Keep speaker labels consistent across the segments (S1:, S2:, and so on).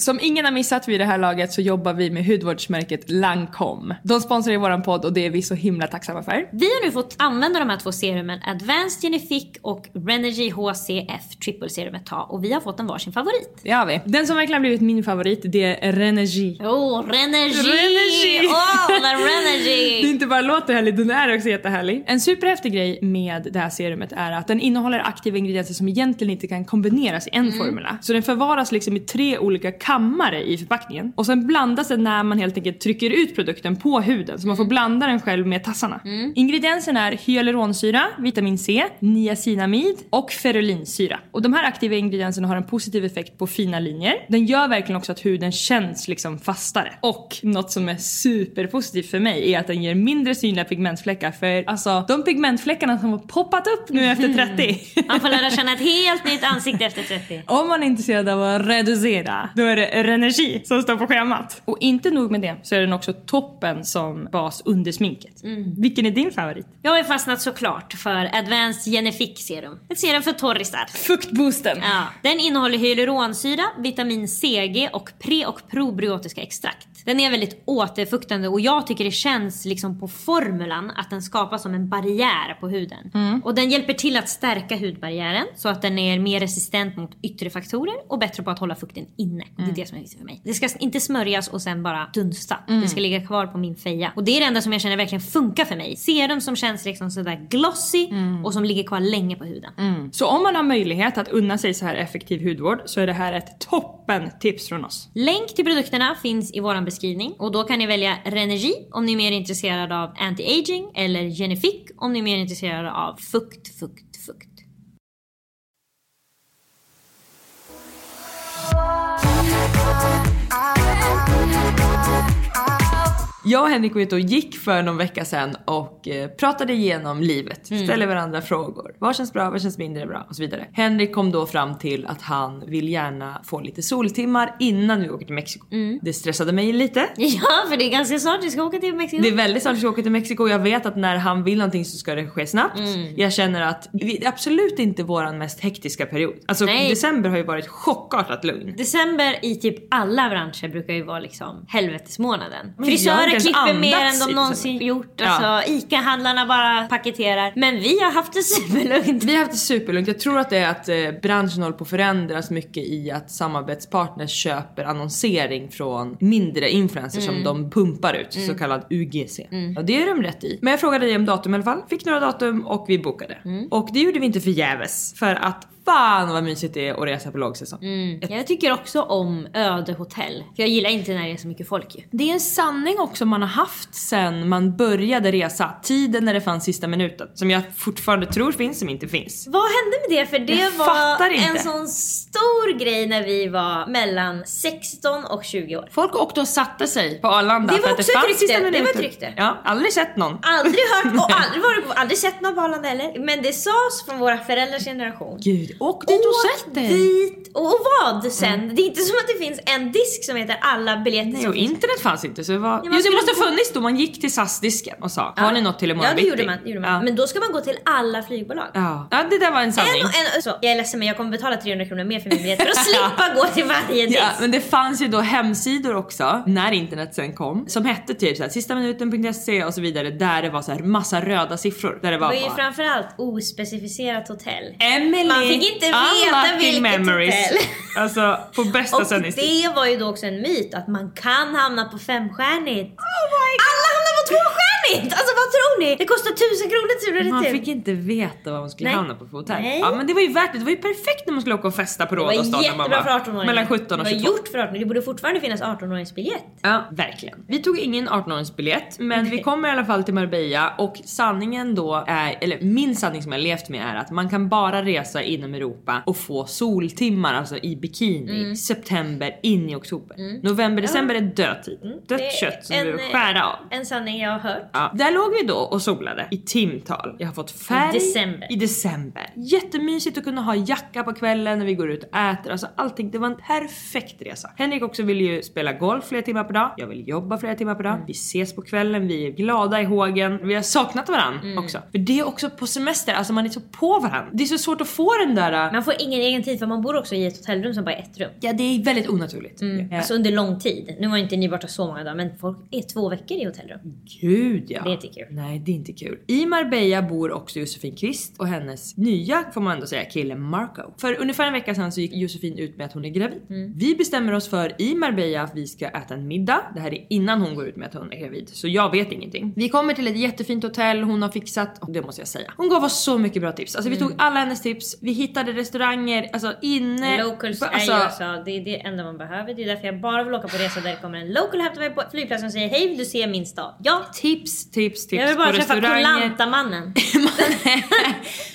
S1: Som ingen har missat vid det här laget så jobbar vi med hudvårdsmärket Lancome. De sponsrar ju våran podd och det är vi så himla tacksamma för.
S2: Vi har nu fått använda de här två serumen Advanced Genifique och Renogy HCF Triple Serum ett tag och vi har fått en varsin favorit.
S1: Det har vi. Den som verkligen har blivit min favorit det är Renogy.
S2: Åh, oh, Renogy!
S1: Renogy!
S2: Åh, men
S1: Det är
S2: Renogy!
S1: inte bara låter härlig, den är också jättehärlig. En superhäftig grej med det här serumet är att den innehåller aktiva ingredienser som egentligen inte kan kombineras i en formula. Så den förvaras liksom i tre olika kammare i förpackningen. Och sen blandas den när man helt enkelt trycker ut produkten på huden. Så man får blanda den själv med tassarna. Ingredienserna är hyaluronsyra, vitamin C, niacinamid och ferulinsyra. Och de här aktiva ingredienserna har en positiv effekt på fina linjer. Den gör verkligen också att huden känns liksom fastare. Och något som är superpositivt för mig är att den ger mindre synliga pigmentfläckar för alltså de pigmentfläckarna som har poppat upp nu efter 30.
S2: Man får lära känna ett helt nytt ansikte efter 30.
S1: Om man är intresserad av att reducera, då är det Renogy som står på schemat. Och inte nog med det, så är den också toppen som bas under sminket. Vilken är din favorit?
S2: Jag har ju fastnat såklart för Advanced Genifique Serum. Ett serum för torrisar.
S1: Fuktboosten!
S2: Ja. Den innehåller hyaluronsyra, vitamin CG och pre och probiotiska extrakt. Den är väldigt återfuktande och jag tycker det känns liksom på formulan att den skapas som en barriär på huden. Och den hjälper till att stärka hudbarriären så att den är mer resistent mot yttre faktorer och bättre på att hålla fukten inne. Det är det som är viktigt för mig. Det ska inte smörjas och sen bara dunsta. Det ska ligga kvar på min feja. Och det är det enda som jag känner verkligen funkar för mig. Serum som känns liksom sådär glossy och som ligger kvar länge på huden.
S1: Så om man har möjlighet att unna sig så här effektiv hudvård så är det här ett toppen tips från oss.
S2: Länk till produkterna finns i vår beskrivning och då kan ni välja Renogy om ni är mer intresserade av anti-aging eller Genifique om ni är mer intresserade av fukt, fukt, fukt.
S3: Jag och Henrik var ute och gick för någon vecka sedan och eh, pratade igenom livet.
S1: Mm.
S3: Ställer varandra frågor. Vad känns bra? Vad känns mindre bra? Och så vidare. Henrik kom då fram till att han vill gärna få lite soltimmar innan vi åker till Mexiko.
S1: Mm.
S3: Det stressade mig lite.
S2: Ja, för det är ganska snart vi ska åka till Mexiko.
S3: Det är väldigt snart vi ska åka till Mexiko och jag vet att när han vill någonting så ska det ske snabbt.
S1: Mm.
S3: Jag känner att vi, det är absolut inte våran mest hektiska period. Alltså
S2: Nej.
S3: december har ju varit chockartat lugn.
S2: December i typ alla branscher brukar ju vara liksom helvetesmånaden.
S3: jag har inte
S2: Frisörer
S3: ens
S2: klipper mer
S3: andats
S2: än de
S3: i
S2: någonsin
S3: december.
S2: gjort.
S3: Ja.
S2: Alltså, ICA-handlarna bara paketerar. Men vi har haft det superlugnt.
S3: Vi har haft det superlugnt. Jag tror att det är att eh, branschen håller på att förändras mycket i att samarbetspartners köper annonsering från mindre influencers som de pumpar ut, så kallad UGC. Och det är de rätt i. Men jag frågade dig om datum i alla fall, fick några datum och vi bokade. Och det gjorde vi inte förgäves för att fan vad mysigt det är att resa på lågsäsong.
S2: Jag tycker också om ödehotell. För jag gillar inte när det är så mycket folk ju.
S3: Det är en sanning också man har haft sen man började resa. Tiden när det fanns sista minuten. Som jag fortfarande tror finns, som inte finns.
S2: Vad hände med det? För det
S3: Jag
S2: var
S3: fattar inte.
S2: en sån stor grej när vi var mellan 16 och 20 år.
S3: Folk åkte och satte sig på Arlanda
S2: Det var
S3: för att
S2: också
S3: det
S2: ett
S3: fanns
S2: rykte.
S3: sista
S2: Det var ett
S3: minuten.
S2: rykte.
S3: Ja, aldrig sett någon.
S2: Aldrig hört och aldrig, varit, aldrig sett någon på Arlanda heller. Men det sades från våra föräldrars generation.
S3: Gud, åk dit och sätt dig!
S2: dit och, och vad sen? Det är inte som att det finns en disk som heter alla biljetter
S3: Mm. Nej,
S2: som
S3: och
S2: finns.
S3: internet fanns inte så det var...
S2: man
S3: jo, det
S2: skulle
S3: måste
S2: gå-
S3: ha funnits då man gick till SAS-disken och sa har ni något till imorgon
S2: Ja det
S3: bitti?"
S2: gjorde man. det Gjorde man.
S3: Ja.
S2: Men då ska man gå till alla flygbolag.
S3: Ja. ja, det där var en sanning.
S2: En och en, så, jag är ledsen men jag kommer betala 300 kronor mer för min biljett för att slippa gå till varje disk.
S3: Ja, men det fanns ju då hemsidor också när internet sen kom som hette typ såhär sistaminuten.se E och så vidare där det var så här massa röda siffror. Där det var
S2: Det var ju
S3: bara,
S2: framförallt ospecificerat hotell.
S3: Emily,
S2: Man fick inte veta
S3: unlocking
S2: vilket hotell.
S3: Alltså på bästa
S2: Och
S3: sändningstid. Oh
S2: det var ju då också en myt att man kan hamna på femstjärnigt. alla hamnar på tvåstjärnigt! it! Alltså vad tror ni? Det kostar 1000 kronor tur och
S3: Man
S2: retur.
S3: fick inte veta vad man skulle
S2: Nej.
S3: hamna på för hotell.
S2: Nej.
S3: Ja men det var ju värt det, det var ju perfekt när man skulle åka och festa på
S2: Det var
S3: Rhodos dagen när man
S2: jättebra
S3: var
S2: för 18-åringar.
S3: mellan 17 och 22.
S2: Det var gjort för 18 Det borde fortfarande finnas 18-åringsbiljett.
S3: Ja, verkligen. Vi tog ingen 18-åringsbiljett men vi kommer i alla fall till Marbella och sanningen då är, eller min sanning som jag levt med är att man kan bara resa inom Europa och få soltimmar, alltså i bikini,
S2: Mm.
S3: september in i oktober. November, december är död tid.
S2: Mm. Det är
S3: Dött kött som
S2: en,
S3: du
S2: eh,
S3: skära av.
S2: En sanning jag har hört.
S3: Ja, där låg vi då och solade i timtal. Jag har fått färg
S2: I december.
S3: i december. Jättemysigt att kunna ha jacka på kvällen när vi går ut och äter. Alltså allting. Det var en perfekt resa. Henrik också ville ju spela golf flera timmar per dag. Jag vill jobba flera timmar per dag.
S2: Mm.
S3: Vi ses på kvällen, vi är glada i hågen. Vi har saknat varandra
S2: Mm.
S3: också. För det är också på semester, alltså man är så på varandra. Det är så svårt att få den där...
S2: Man får ingen egen tid för man bor också i ett hotellrum som bara är ett rum.
S3: Ja det är väldigt onaturligt. Ja.
S2: Alltså under lång tid. Nu var inte ni borta så många dagar men folk är två veckor i hotellrum.
S3: Gud ja.
S2: Det är inte kul.
S3: Nej det är inte kul. I Marbella bor också Josefin Kvist och hennes nya, får man ändå säga, kille Marco. För ungefär en vecka sedan så gick Josefin ut med att hon är gravid.
S2: Mm.
S3: Vi bestämmer oss för i Marbella att vi ska äta en middag. Det här är innan hon går ut med att hon är gravid. Så jag vet ingenting. Vi kommer till ett jättefint hotell hon har fixat och det måste jag säga. Hon gav oss så mycket bra tips. Alltså vi
S2: Mm.
S3: tog alla hennes tips. Vi hittade restauranger, alltså inne.
S2: Locals
S3: alltså,
S2: är ju alltså, det är det enda man behöver. Det är därför jag bara vill åka på resa där det kommer en local och hämtar mig på flygplatsen och säger hej vill du se min stad? Ja!
S3: Tips, tips, tips
S2: Jag vill bara
S3: på
S2: träffa
S3: restauranger.
S2: Kolantamannen.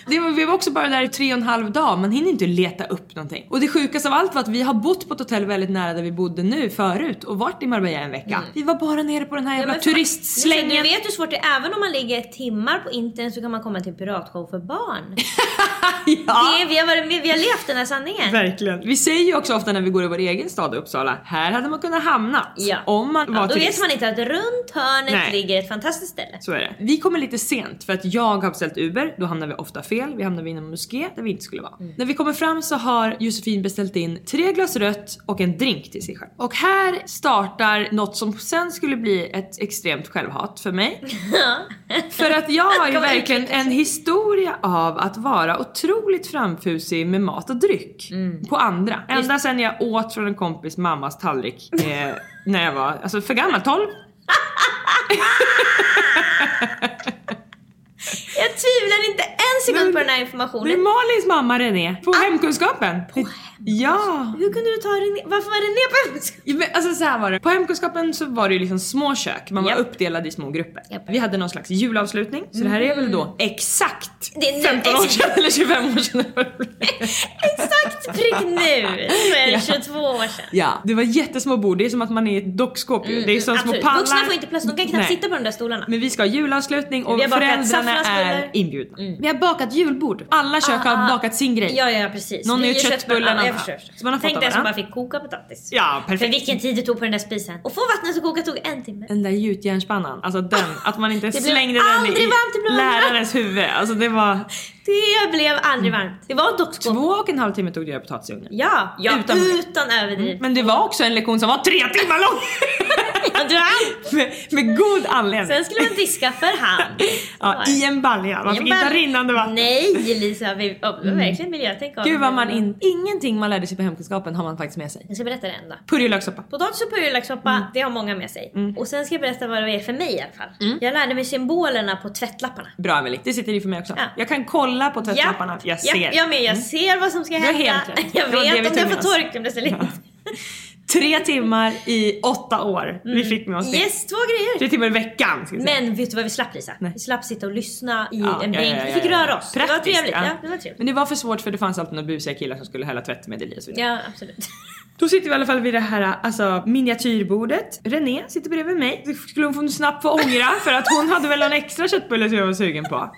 S3: det var, vi var också bara där i tre och en halv dag, man hinner inte leta upp någonting. Och det sjukaste av allt var att vi har bott på ett hotell väldigt nära där vi bodde nu förut och varit i Marbella en vecka. Vi var bara nere på den här jävla
S2: Mm. men fan,
S3: turistslängen.
S2: Du vet hur svårt det är, även om man ligger timmar på internet så kan man komma till en piratshow för barn.
S3: ja.
S2: Det är, vi, har, varit- vi, vi har levt den här sanningen.
S3: Verkligen. Vi säger ju också ofta när vi går i vår egen stad Uppsala, här hade man kunnat hamna
S2: Ja.
S3: om man var
S2: ja, då
S3: turist.
S2: vet man inte att runt hörnet
S3: Nej.
S2: ligger ett fantastiskt ställe.
S3: Så är det. Vi kommer lite sent för att jag har beställt Uber, då hamnar vi ofta fel. Vi hamnar vid en moské där vi inte skulle vara. När vi kommer fram så har Josefin beställt in tre glas rött och en drink till sig själv. Och här startar något som sen skulle bli ett extremt självhat för mig. för att jag har ju
S2: Kommer
S3: verkligen en historia av att vara otroligt framfusig med mat och dryck på andra. Ända sen jag åt från en kompis mammas tallrik eh, när jag var alltså för gammal, 12.
S2: Jag tvivlar inte en sekund på den här informationen.
S3: Det är Malins mamma René, på
S2: Ah!
S3: hemkunskapen. På ja.
S2: Hur kunde du ta René? Varför var René på hemskan?
S3: Ja, Men alltså så här var det. På hemkunskapen så var det ju liksom små kök, man var
S2: Japp.
S3: uppdelad i små grupper.
S2: Japp. Mm.
S3: Vi hade någon slags julavslutning, så det här är väl då exakt
S2: Det är nu,
S3: 15 år
S2: exakt.
S3: sedan eller 25 år sedan.
S2: Exakt prick nu! För 22 år sedan.
S3: Ja, det var jättesmå bord, det är som att man är i ett dockskåp ju. Det är som små
S2: Mm, Absolut.
S3: pallar.
S2: Vuxna får inte plats, de kan knappt
S3: Nej.
S2: sitta på de där stolarna.
S3: Men vi ska ha julavslutning och
S2: Vi har bakat
S3: föräldrarna är
S2: saffransbullar. Mm.
S3: inbjudna. Vi har bakat julbord. Alla kök har bakat sin grej.
S2: Ah, Ja, ja precis.
S3: Någon
S2: Vi
S3: är ju köttbullar,
S2: Ja, jag
S3: någon-
S2: förstår.
S3: ja.
S2: förstår.
S3: Så man har fått
S2: Tänk
S3: av
S2: den som bara
S3: varandra.
S2: fick koka potatis.
S3: Ja,
S2: För
S3: perfekt. Mm.
S2: vilken tid det tog på den där spisen. Och få vattnet att koka tog en timme.
S3: Den där gjutjärnspannan, alltså den, att man inte
S2: blev
S3: slängde den
S2: aldrig
S3: i
S2: varmt i blommorna.
S3: lärarens huvud. Alltså det var...
S2: Det blev aldrig varmt. Det var dock skåp.
S3: Mm. Två och en halv timme tog det att göra potatis i ugnen.
S2: Ja, ja,
S3: Utan- Mm.
S2: utan, överdrift.
S3: Men det var också en lektion som var tre timmar lång!
S2: Ja, du hann.
S3: med, med god anledning.
S2: Sen skulle man diska för hand.
S3: Ja, I en balja, man
S2: Ja,
S3: fick
S2: men-
S3: inte ha rinnande vatten.
S2: Nej Lisa, vi, oh, det var verkligen miljötänk av
S3: Gud vad
S2: mig.
S3: man in, ingenting man lärde sig på hemkunskapen har man faktiskt med sig.
S2: Jag ska berätta det en dag.
S3: Purjolökssoppa.
S2: Potatis och purjolökssoppa,
S3: Mm.
S2: det har många med sig. Och sen ska jag berätta vad det är för mig i alla fall.
S3: Mm.
S2: Jag lärde mig symbolerna på tvättlapparna.
S3: Bra Emelie, det sitter i för mig också.
S2: Ja.
S3: Jag kan kolla på
S2: Ja,
S3: tvättlapparna, jag ser.
S2: Ja, jag med, jag ser vad som ska
S3: har
S2: hända.
S3: helt rätt.
S2: Jag
S3: Det var det vi
S2: vet om
S3: tog
S2: jag
S3: med
S2: får
S3: oss.
S2: torktumles eller inte.
S3: Tre timmar i åtta år, vi fick med oss det.
S2: Mm. Yes, två grejer.
S3: Tre timmar i veckan ska vi säga.
S2: Men vet du vad vi slapp Lisa? Vi slapp sitta och lyssna i
S3: Ja,
S2: en
S3: ja,
S2: bänk.
S3: ja,
S2: vi
S3: ja, ja.
S2: fick röra oss. det var
S3: Praktiskt,
S2: trevligt.
S3: ja.
S2: Ja. det var trevligt.
S3: Men det var för svårt för det fanns alltid några busiga killar som skulle hälla tvättmedel i och så vidare.
S2: Ja, absolut.
S3: Då sitter vi i alla fall vid det här alltså, miniatyrbordet. René sitter bredvid mig. Då skulle hon få snabbt få ångra för att hon hade väl en extra köttbulle som jag var sugen på.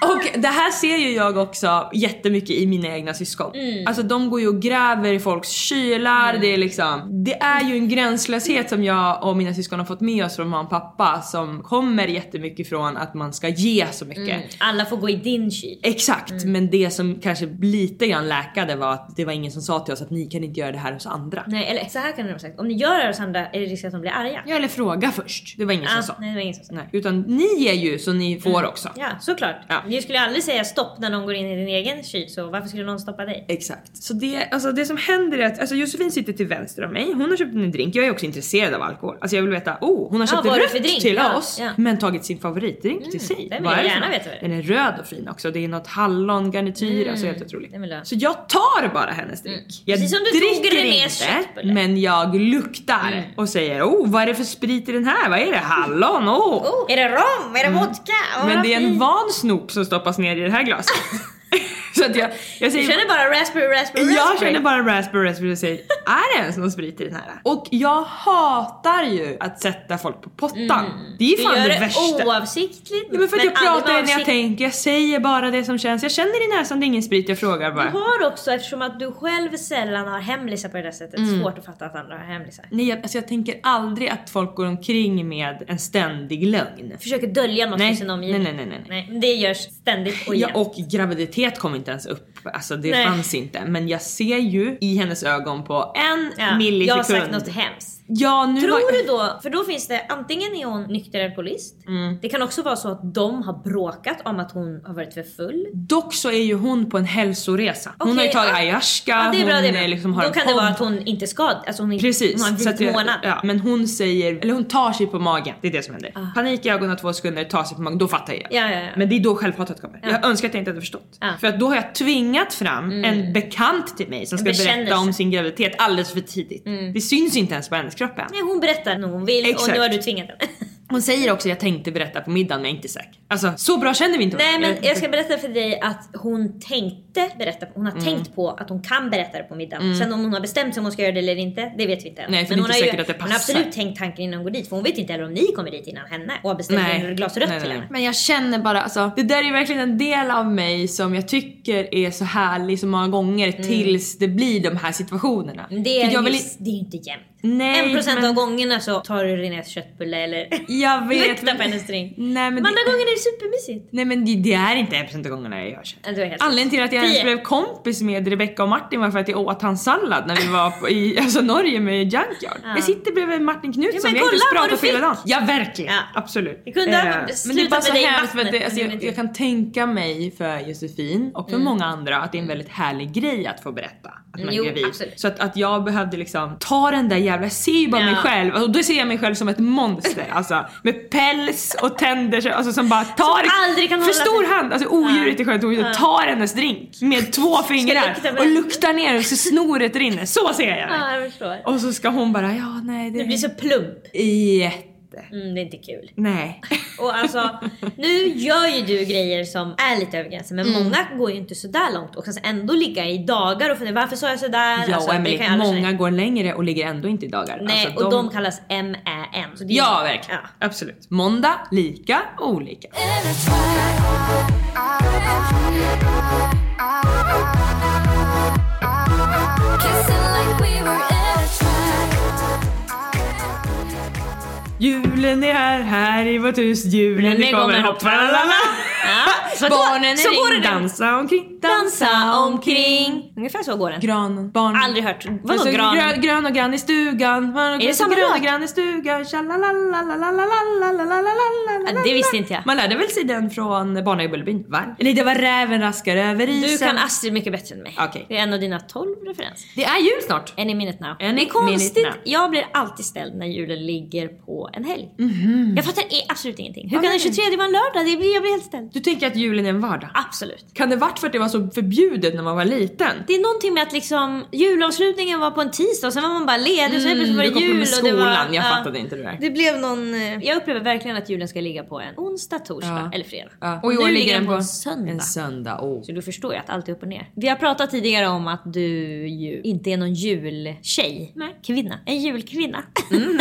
S3: Och det här ser ju jag också jättemycket i mina egna syskon.
S2: Mm.
S3: Alltså de går ju och gräver i folks kylar, det är liksom... Det är ju en gränslöshet som jag och mina syskon har fått med oss från mamma och pappa som kommer jättemycket från att man ska ge så mycket.
S2: Mm. Alla får gå i din kyl.
S3: Exakt, men det som kanske lite grann läkade var att det var ingen som sa till oss att ni kan inte göra det här hos andra.
S2: Nej, eller så här kan de ha sagt. Om ni gör det hos andra är det risk att de blir arga.
S3: Ja eller fråga först. Det var ingen som
S2: Ah,
S3: sa.
S2: nej, det var ingen som sa.
S3: Nej. Utan ni ger ju så ni får också.
S2: Ja, såklart.
S3: Ja.
S2: Vi Du skulle aldrig säga stopp när någon går in i din egen kyl så varför skulle någon stoppa dig?
S4: Exakt.
S3: Så det, alltså det som händer är att alltså Josefin sitter till vänster om mig, hon har köpt en drink, jag är också intresserad av alkohol. Alltså jag vill veta, oh hon har
S2: Ja,
S3: köpt
S2: vad
S3: en
S2: är det för
S3: rött
S2: drink?
S3: till
S2: Ja,
S3: oss
S2: ja. Mm,
S3: men tagit sin favoritdrink till sig.
S2: den vill
S3: Vad
S2: jag
S3: är det för
S2: gärna
S3: något?
S2: veta vad det är.
S3: Den är röd och fin också, det är något hallongarnityr, alltså helt otroligt.
S2: den vill jag ha.
S3: Så jag tar bara hennes drink. Jag
S2: Precis som du tog
S3: dricker
S2: Renés
S3: inte,
S2: köttbulle.
S3: men jag luktar
S2: Mm.
S3: och säger oh vad är det för sprit i den här? Vad är det? Hallon? Oh.
S2: Oh, är det rom? Är det vodka? Åh,
S3: Mm. Men
S2: vad
S3: det är en
S2: fint.
S3: van snop som stoppas ner i det här glaset. så att jag, jag säger
S2: Du känner bara raspberry, raspberry,
S3: jag
S2: raspberry.
S3: känner bara raspberry raspberry och säger är det ens någon sprit i den här? Och jag hatar ju att sätta folk på pottan. Det är
S2: Du
S3: fan
S2: gör
S3: det,
S2: Mm. det
S3: värsta.
S2: oavsiktligt.
S3: Ja, men för att jag
S2: aldrig
S3: pratar
S2: med
S3: när jag
S2: avsikt.
S3: tänker, jag säger bara det som känns. Jag känner i näsan, det är ingen sprit, jag frågar
S2: Du
S3: bara.
S2: har också, eftersom att du själv sällan har hemlisar på det där sättet,
S3: Mm.
S2: svårt att fatta att andra har hemlisar.
S3: Nej jag, alltså jag tänker aldrig att folk går omkring med en ständig lögn.
S2: Försöker dölja något
S3: Nej,
S2: för sin omgivning.
S3: nej, nej, nej, nej.
S2: nej. Det görs ständigt och
S3: Ja,
S2: jämt.
S3: och graviditet kom inte ens upp, alltså det
S2: Nej.
S3: fanns inte. Men jag ser ju i hennes ögon på en
S2: Ja,
S3: millisekund.
S2: Jag har sagt något hemskt.
S3: Ja, nu
S2: Tror
S3: har...
S2: du då, för då finns det antingen är hon nykter alkoholist.
S3: Mm.
S2: Det kan också vara så att de har bråkat om att hon har varit för full.
S3: Dock så är ju hon på en hälsoresa. Hon
S2: Okej,
S3: har ju tagit
S2: ja.
S3: ayahuasca,
S2: Ja, det är bra,
S3: hon
S2: det är bra.
S3: eh, liksom har
S2: då
S3: en
S2: kan det
S3: podd.
S2: vara att hon inte ska, alltså hon, är-
S3: Precis.
S2: hon har en
S3: så att
S2: vit
S3: jag-
S2: månad.
S3: Ja, men hon säger, eller hon tar sig på magen. Det är det som händer. Panik i ögonen två sekunder, tar sig på magen, då fattar jag.
S2: Ah. Ja, ja, ja.
S3: Men det är då självhatet kommer. Jag önskar att jag inte hade förstått.
S2: Ja. Mm.
S3: För att då har jag tvingat fram en bekant till mig som ska berätta
S2: bekännelse.
S3: om sin graviditet alldeles för tidigt.
S2: Mm.
S3: Det syns inte ens på hennes kropp än.
S2: Nej, hon berättar när hon vill och
S3: Exakt.
S2: nu har du tvingat henne.
S3: Hon säger också jag tänkte berätta på middagen men jag är inte säker. Alltså så bra känner vi inte
S2: Nej
S3: varandra.
S2: men jag ska berätta för dig att hon tänkte berätta, hon har
S3: Mm.
S2: tänkt på att hon kan berätta det på middagen. Sen om hon har bestämt sig om hon ska göra det eller inte, det vet vi inte än.
S3: Nej, för det är
S2: men hon,
S3: inte
S2: har
S3: säkert att det
S2: hon har
S3: passar.
S2: absolut tänkt tanken innan hon går dit för hon vet inte heller om ni kommer dit innan henne och har beställt
S3: Nej.
S2: en glas rött
S3: Nej,
S2: till
S3: nej,
S2: henne.
S4: Men jag känner bara, alltså, det där är verkligen en del av mig som jag tycker är så härlig så många gånger tills det blir de här situationerna.
S2: Mm. Men Det är,
S4: För jag
S2: ju,
S4: vill,
S2: det är ju inte jämnt.
S4: Nej,
S2: en procent
S4: men-
S2: av gångerna så tar du Renés köttbulle eller
S4: jag vet,
S2: luktar på hennes drink.
S4: Nej men,
S2: Men andra
S4: det,
S2: gången är det supermysigt.
S3: Nej men det, det är inte 1% av gångerna jag gör så.
S2: Ja, du har helt
S3: Anledningen till att jag ens
S2: Tio.
S3: blev kompis med Rebecca och Martin var för att jag åt hans sallad när vi var på, i alltså Norge med Junkyard. Jag sitter bredvid Martin Knutsson,
S2: men
S3: vi har inte ens
S2: kolla vad
S3: pratat
S2: du
S3: hela dagen.
S2: fick.
S3: Ja verkligen,
S2: Ja.
S3: absolut. Eh,
S2: Vi kunde ha
S3: men det är
S2: slutat
S3: bara
S2: med
S3: så
S2: dig i
S3: hemskt för att
S2: vattnet,
S3: det, alltså,
S2: men det
S3: jag,
S2: är
S3: jag kan tänka mig för Josefin och för många andra att det är en väldigt härlig grej att få berätta att man är
S2: Mm. Jo,
S3: gravid.
S2: absolut.
S3: Så att, att jag behövde liksom ta den där jävla, jag ser ju bara
S2: Ja.
S3: mig själv och då ser jag mig själv som ett monster alltså med päls och tänder så- alltså, som bara tar
S2: aldrig kan
S3: för
S2: hålla
S3: stor
S2: sig.
S3: hand, alltså odjuret i sjön tog ut och tar hennes drink med två fingrar
S2: lukta på
S3: och
S2: den.
S3: luktar ner så snoret rinner. Så ser jag det.
S2: Ja, jag förstår.
S3: Och så ska hon bara, ja nej det
S2: Du blir så plump.
S3: jätte...
S2: Mm, det är inte kul.
S3: Nej.
S2: Och alltså, nu gör ju du grejer som är lite över gränsen men
S3: Mm.
S2: många går ju inte sådär långt och kan ändå ligga i dagar och fundera varför sa jag sådär?
S3: Ja
S2: Alltså,
S3: och
S2: det
S3: Emily,
S2: kan jag aldrig
S3: många
S2: känna.
S3: går längre och ligger ändå inte i dagar.
S2: Nej
S3: Alltså,
S2: och de kallas MÄN. Så det är-
S3: Ja verkligen,
S2: Ja.
S3: absolut. Måndag, lika, olika. Julen är här, här i vårt hus, julen
S2: det
S3: det kommer,
S2: kommer,
S3: hopp, tralala.
S2: Ja, så då-
S3: Barnen
S2: så går
S3: är
S2: det
S3: ring,
S2: där.
S3: dansa omkring,
S2: Dansa omkring. Ungefär så går den.
S3: Granen, barnen.
S2: Aldrig hört. Vadå
S3: Alltså,
S2: gran?
S3: grön, grön och grann i stugan. Är
S2: det samma
S3: grön
S2: låt?
S3: och grann i stugan. Tjalalalalalalalalalalalalalala.
S2: Ja, det visste inte jag.
S3: Man lärde väl sig den från Barnen i Bullerbyn? Va? Eller det var räven raskar över isen.
S2: Du kan Astrid mycket bättre än mig.
S3: Okej.
S2: Det är en av dina 12 referenser.
S3: Det är jul snart.
S2: En i minnet now.
S3: Any
S2: det är konstigt,
S3: minute now.
S2: jag blir alltid ställd när julen ligger på en helg.
S3: Mhm.
S2: Jag fattar i- absolut ingenting. Hur kan den 23 vara en lördag? Det blir, jag blir helt ställd.
S3: Du tänker att julen är en vardag?
S2: Absolut.
S3: Kan det varit för att det var så förbjudet när man var liten?
S2: Det är någonting med att liksom julavslutningen var på en tisdag och sen var man bara ledig och sen helt plötsligt var
S3: Mm, Du
S2: det
S3: kom
S2: jul
S3: med
S2: och det var...
S3: skolan, jag
S2: ja.
S3: fattade inte det där.
S2: Det blev någon... eh, Jag upplever verkligen att julen ska ligga på en onsdag, torsdag
S3: Ja.
S2: eller fredag.
S3: Ja.
S2: Och i år ligger den på en söndag.
S3: En söndag, åh.
S2: Så du förstår ju att allt är upp och ner. Vi har pratat tidigare om att du ju inte är någon jultjej. Nej. Kvinna. En julkvinna.
S3: Mm.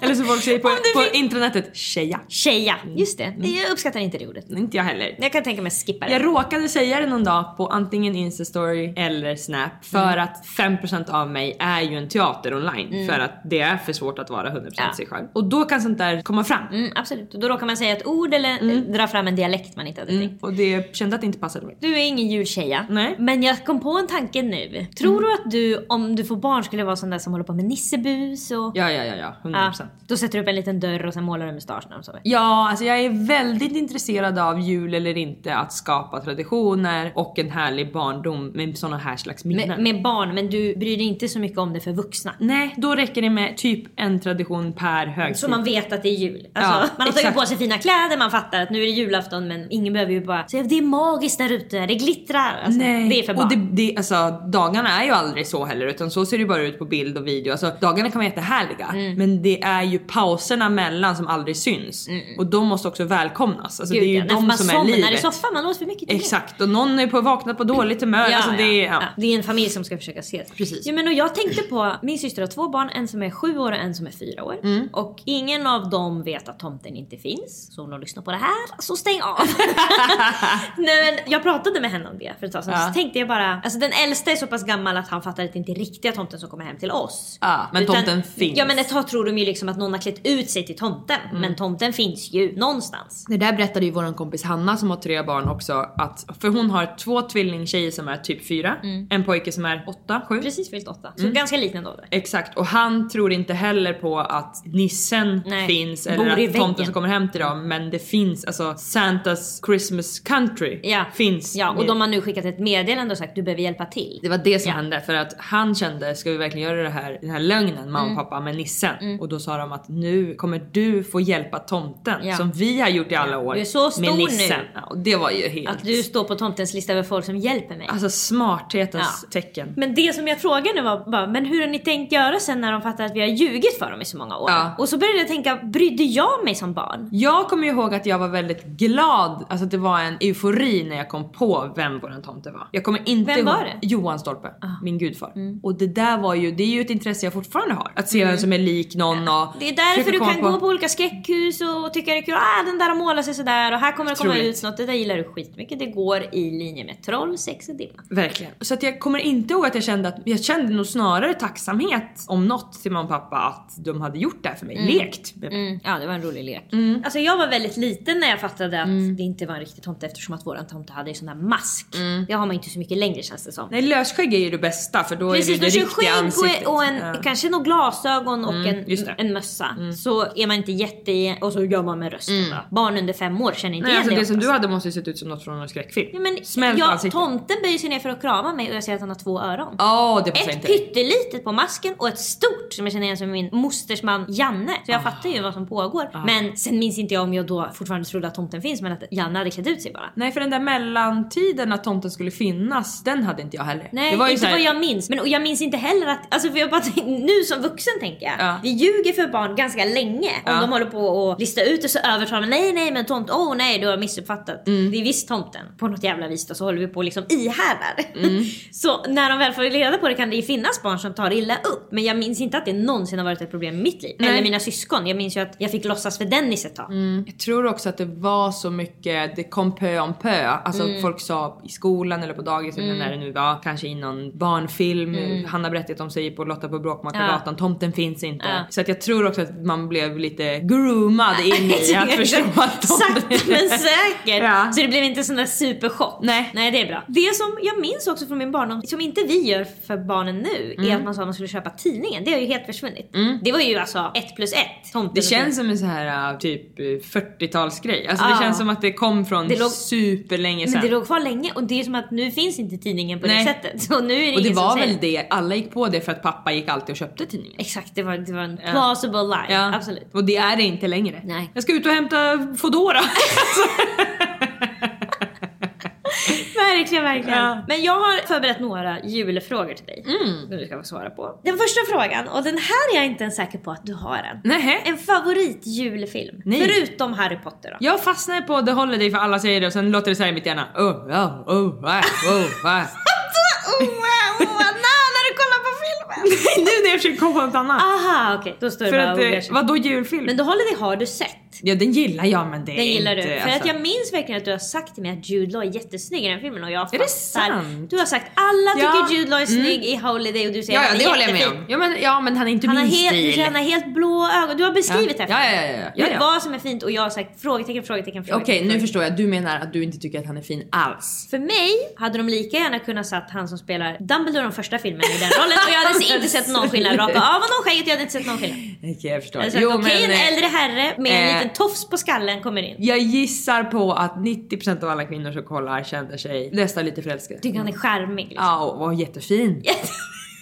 S3: Eller som folk säger på,
S2: Om du
S3: på
S2: fick-
S3: internetet, tjeja.
S2: Tjeja.
S3: Mm.
S2: Just det. Jag uppskattar inte det ordet.
S3: Inte jag heller.
S2: Jag kan tänka mig att skippa det.
S3: Jag råkade säga det någon dag på antingen Instastory eller Snap för att 5% av mig är ju en teater online för att det är för svårt att vara 100%
S2: Ja.
S3: sig själv. Och då kan sånt där komma fram.
S2: Mm, absolut. Och då råkar man säga ett ord eller
S3: Mm.
S2: eh, dra fram en dialekt man inte hade tänkt.
S3: Och det kände att det inte passade mig.
S2: Du är ingen jultjeja.
S3: Mm. Nej. Mm.
S2: Men jag kom på en tanke nu. Tror du att du, om du får barn, skulle vara sån där som håller på med nissebus och...
S3: Ja, ja, ja, ja. 100%.
S2: Ja. Då sätter du upp en liten dörr och sen målar du mustasch när de sover.
S3: Ja, alltså jag är väldigt intresserad av djur kul eller inte att skapa traditioner och en härlig barndom med såna här slags minnen.
S2: Med, med barn, men du bryr dig inte så mycket om det för vuxna.
S3: Nej, då räcker det med typ en tradition per högtid.
S2: Så man vet att det är jul. Alltså,
S3: Ja,
S2: man har tagit
S3: exakt.
S2: på sig fina kläder, man fattar att nu är det julafton men ingen behöver ju bara säga det är magiskt där ute, det glittrar. Alltså, Det är för barn.
S3: och det, det, alltså, dagarna är ju aldrig så heller utan så ser det ju bara ut på bild och video. Alltså, dagarna kan vara jättehärliga
S2: Mm.
S3: men det är ju pauserna mellan som aldrig syns och de måste också välkomnas. Alltså,
S2: Mm. Gud,
S3: det är ju
S2: ja. Nej, för
S3: de
S2: man
S3: som är
S2: somnar i
S3: livet.
S2: soffan, man åt för mycket till det.
S3: Exakt och någon är på vaknat på dåligt humör. alltså, Det, är- ja.
S2: Ja, det är en familj som ska försöka se det.
S3: Precis.
S2: Ja, men och jag tänkte på, min syster har två barn, en som är sju år och en som är fyra år.
S3: Mm.
S2: Och ingen av dem vet att tomten inte finns. Så om de lyssnar på det här, så stäng av. Nej, men jag pratade med henne om det för ett tag sedan.
S3: Ja.
S2: Så tänkte jag bara, alltså den äldsta är så pass gammal att han fattar att det inte är riktiga tomten som kommer hem till oss.
S3: Ja, men tomten finns. Mm.
S2: Ja men ett tag tror de ju liksom att någon har klätt ut sig till tomten. Men tomten finns ju någonstans.
S3: Det där berättade ju våran kompis Hanna som har tre barn också att för hon har två tvillingtjejer som är typ fyra,
S2: Mm.
S3: en pojke som är åtta, sju.
S2: Precis fyllt åtta.
S3: Mm.
S2: Så ganska liten då.
S3: Exakt och han tror inte heller på att nissen
S2: Nej,
S3: finns
S2: bor
S3: eller
S2: i
S3: att tomten
S2: väggen.
S3: som kommer hem till dem men det finns alltså Santas Christmas country
S2: Ja.
S3: finns.
S2: Ja, och
S3: med.
S2: de har nu skickat ett meddelande och sagt du behöver hjälpa till.
S3: Det var det som
S2: Ja.
S3: hände för att han kände ska vi verkligen göra det här, den här lögnen mamma
S2: Mm.
S3: och pappa med nissen? Och då sa de att nu kommer du få hjälpa tomten
S2: Ja.
S3: som vi har gjort i alla år
S2: Du är så stor
S3: med
S2: nu.
S3: nissen. Ja, och det var ju helt
S2: Att du står på tomtens lista över folk som hjälper mig.
S3: Alltså smarthetens
S2: Ja.
S3: tecken.
S2: Men det som jag frågade nu var bara, men hur har ni tänkt göra sen när de fattar att vi har ljugit för dem i så många år?
S3: Ja.
S2: Och så började jag tänka, brydde jag mig som barn?
S3: Jag kommer ju ihåg att jag var väldigt glad, alltså att det var en eufori när jag kom på vem våran tomte var. Jag kommer inte
S2: Vem var
S3: ihåg-
S2: det? Ah. Mm.
S3: Johan Stolpe, min gudfar. Och det där var ju, det är ju ett intresse jag fortfarande har. Att se vem som är lik någon och
S2: Det är därför
S3: försöka
S2: du
S3: komma
S2: kan gå på olika skräckhus och tycka det är kul. Ah, den där har målat sig sådär och här kommer det komma
S3: Otroligt.
S2: ut något. Det där gillar du skitmycket. Det går i linje med troll, sex och dimma.
S3: Verkligen. Så att jag kommer inte ihåg att jag kände att, jag kände nog snarare tacksamhet om något till mamma och pappa att de hade gjort det här för mig.
S2: Mm.
S3: Lekt med mig.
S2: Ja, det var en rolig lek. Alltså jag var väldigt liten när jag fattade att
S3: Mm.
S2: det inte var en riktig tomte eftersom att våran tomte hade ju sån där mask.
S3: Mm.
S2: Det har man ju inte så mycket längre känns det som.
S3: Nej lösskägg är ju det bästa för då
S2: Precis,
S3: är det
S2: du
S3: det
S2: kör
S3: riktiga
S2: skägg
S3: ansiktet.
S2: på och en,
S3: Ja. Mm,
S2: kanske några glasögon och
S3: just
S2: en,
S3: det. Mm.
S2: en mössa. Så är man inte jätte... Och så gör man med rösten då. Barn under fem år känner inte
S3: Nej,
S2: igen
S3: alltså det som du
S2: oftast.
S3: hade måste ju sett ut som något från en skräckfilm.
S2: ja, men,
S3: Smält
S2: ja,
S3: ansikte.
S2: Tomten böjer sig ner för att krama mig och jag ser att han har två öron.
S3: Åh, det passar
S2: Ett
S3: inte.
S2: pyttelitet på masken och ett stort som jag känner igen som min mosters man Janne. Så jag fattar ju vad som pågår. Men sen minns inte jag om jag då fortfarande trodde att tomten finns men att Janne hade klätt ut sig bara.
S3: Nej för den där mellantiden att tomten skulle finnas, den hade inte jag heller.
S2: Nej,
S3: det var ju
S2: inte
S3: så här,
S2: vad jag minns. Men och jag minns inte heller att, alltså för jag bara tänk- nu som vuxen tänker jag.
S3: Ja.
S2: Vi ljuger för barn ganska länge. Om
S3: Ja.
S2: de håller på att lista ut det så övertalar man, nej nej men tomt, åh oh, nej du har missuppfattat.
S3: Mm.
S2: Det är visst tomten. På något jävla vis då så håller vi på och liksom ihärdar.
S3: Mm.
S2: så när de väl får reda på det kan det ju finnas barn som tar illa upp. Men jag minns inte att det någonsin har varit ett problem i mitt liv. Eller mina syskon. Jag minns ju att jag fick låtsas för Dennis ett tag.
S3: Mm. Jag tror också att det var så mycket, det kom pö om pö. Alltså
S2: Mm.
S3: folk sa i skolan eller på dagis eller när det nu var, kanske i någon barnfilm.
S2: Mm.
S3: Hanna berättade om sig på Lotta på Bråkmakargatan, tomten finns inte.
S2: Ja.
S3: Så att jag tror också att man blev lite groomad in i att förstå att tomten
S2: Sakta men säkert.
S3: Ja.
S2: Så det blev inte en sån där superchock.
S3: Nej.
S2: Nej det är bra. Det som jag minns också från min barndom, som inte vi gör för barnen nu,
S3: Mm.
S2: är att man sa att man skulle köpa tidningen. Det har ju helt försvunnit. Det var ju alltså ett plus ett. Tomten
S3: Det
S2: och
S3: känns som en så här äh, typ äh, 40-talsgrej. Alltså
S2: Ja.
S3: det känns som att det kom från
S2: Det låg-
S3: superlänge
S2: Men
S3: sedan.
S2: det låg kvar länge och det är som att nu finns inte tidningen på
S3: Nej.
S2: det sättet. Så nu är det
S3: och det
S2: ingen
S3: var
S2: som säger
S3: väl det, alla gick på det för att pappa gick alltid och köpte tidningen.
S2: Exakt, det var, det var en plausible lie. Absolut.
S3: Och det är det inte längre.
S2: Nej.
S3: Jag ska ut och hämta Foodora.
S2: Verkligen, verkligen. Men jag har förberett några julfrågor till dig.
S3: Mm.
S2: Som du ska få svara på. Den första frågan, och den här är jag inte ens säker på att du har än.
S3: Nej.
S2: En favoritjulfilm?
S3: Nej.
S2: Förutom Harry Potter då.
S3: Jag fastnar på The Holiday för alla säger det och sen låter det så här i mitt hjärna. Oh, oh, oh, ah, oh, ah.
S2: Oh, wow, wow, na, när du kollar på filmen!
S3: nu när jag försöker komma på något annat.
S2: Aha, okej. Då står det
S3: för
S2: bara
S3: att, eh,
S2: Ogars.
S3: vadå julfilm?
S2: Men The Holiday har du sett.
S3: ja den gillar jag men det är
S2: Den gillar
S3: inte...
S2: du. För
S3: alltså-
S2: att jag minns verkligen att du har sagt till mig att Jude Law är jättesnygg i den filmen och jag
S3: Är det sant?
S2: Du har sagt alla
S3: Ja. Mm.
S2: tycker Jude Law är snygg i Holiday och du säger
S3: Ja,
S2: att
S3: ja
S2: han
S3: det
S2: är
S3: håller jag med
S2: jättefin.
S3: om. Ja men, ja, men han är inte
S2: Han har
S3: min
S2: helt,
S3: stil.
S2: han har helt blå ögon. Du har beskrivit
S3: Ja.
S2: det här för
S3: Ja,
S2: mig.
S3: ja, ja, ja. Ja,
S2: Men
S3: ja.
S2: Vad som är fint och jag har sagt frågetecken, frågetecken, frågetecken.
S3: Okej nu
S2: frågetecken.
S3: förstår jag, du menar att du inte tycker att han är fin alls.
S2: För mig hade de lika gärna kunnat satt han som spelar Dumbledore i den första filmen i den rollen och jag hade inte sett någon skillnad. Rapa av honom skägget, jag hade inte sett någon skillnad.
S3: Okej jag förstår.
S2: Jag hade sagt, Okej en äldre herre med en
S3: eh,
S2: liten en tofs på skallen kommer in.
S3: Jag gissar på att 90% av alla kvinnor som kollar känner sig nästan lite förälskade.
S2: Tycker han är charmig. Liksom.
S3: Ja, och var jättefin.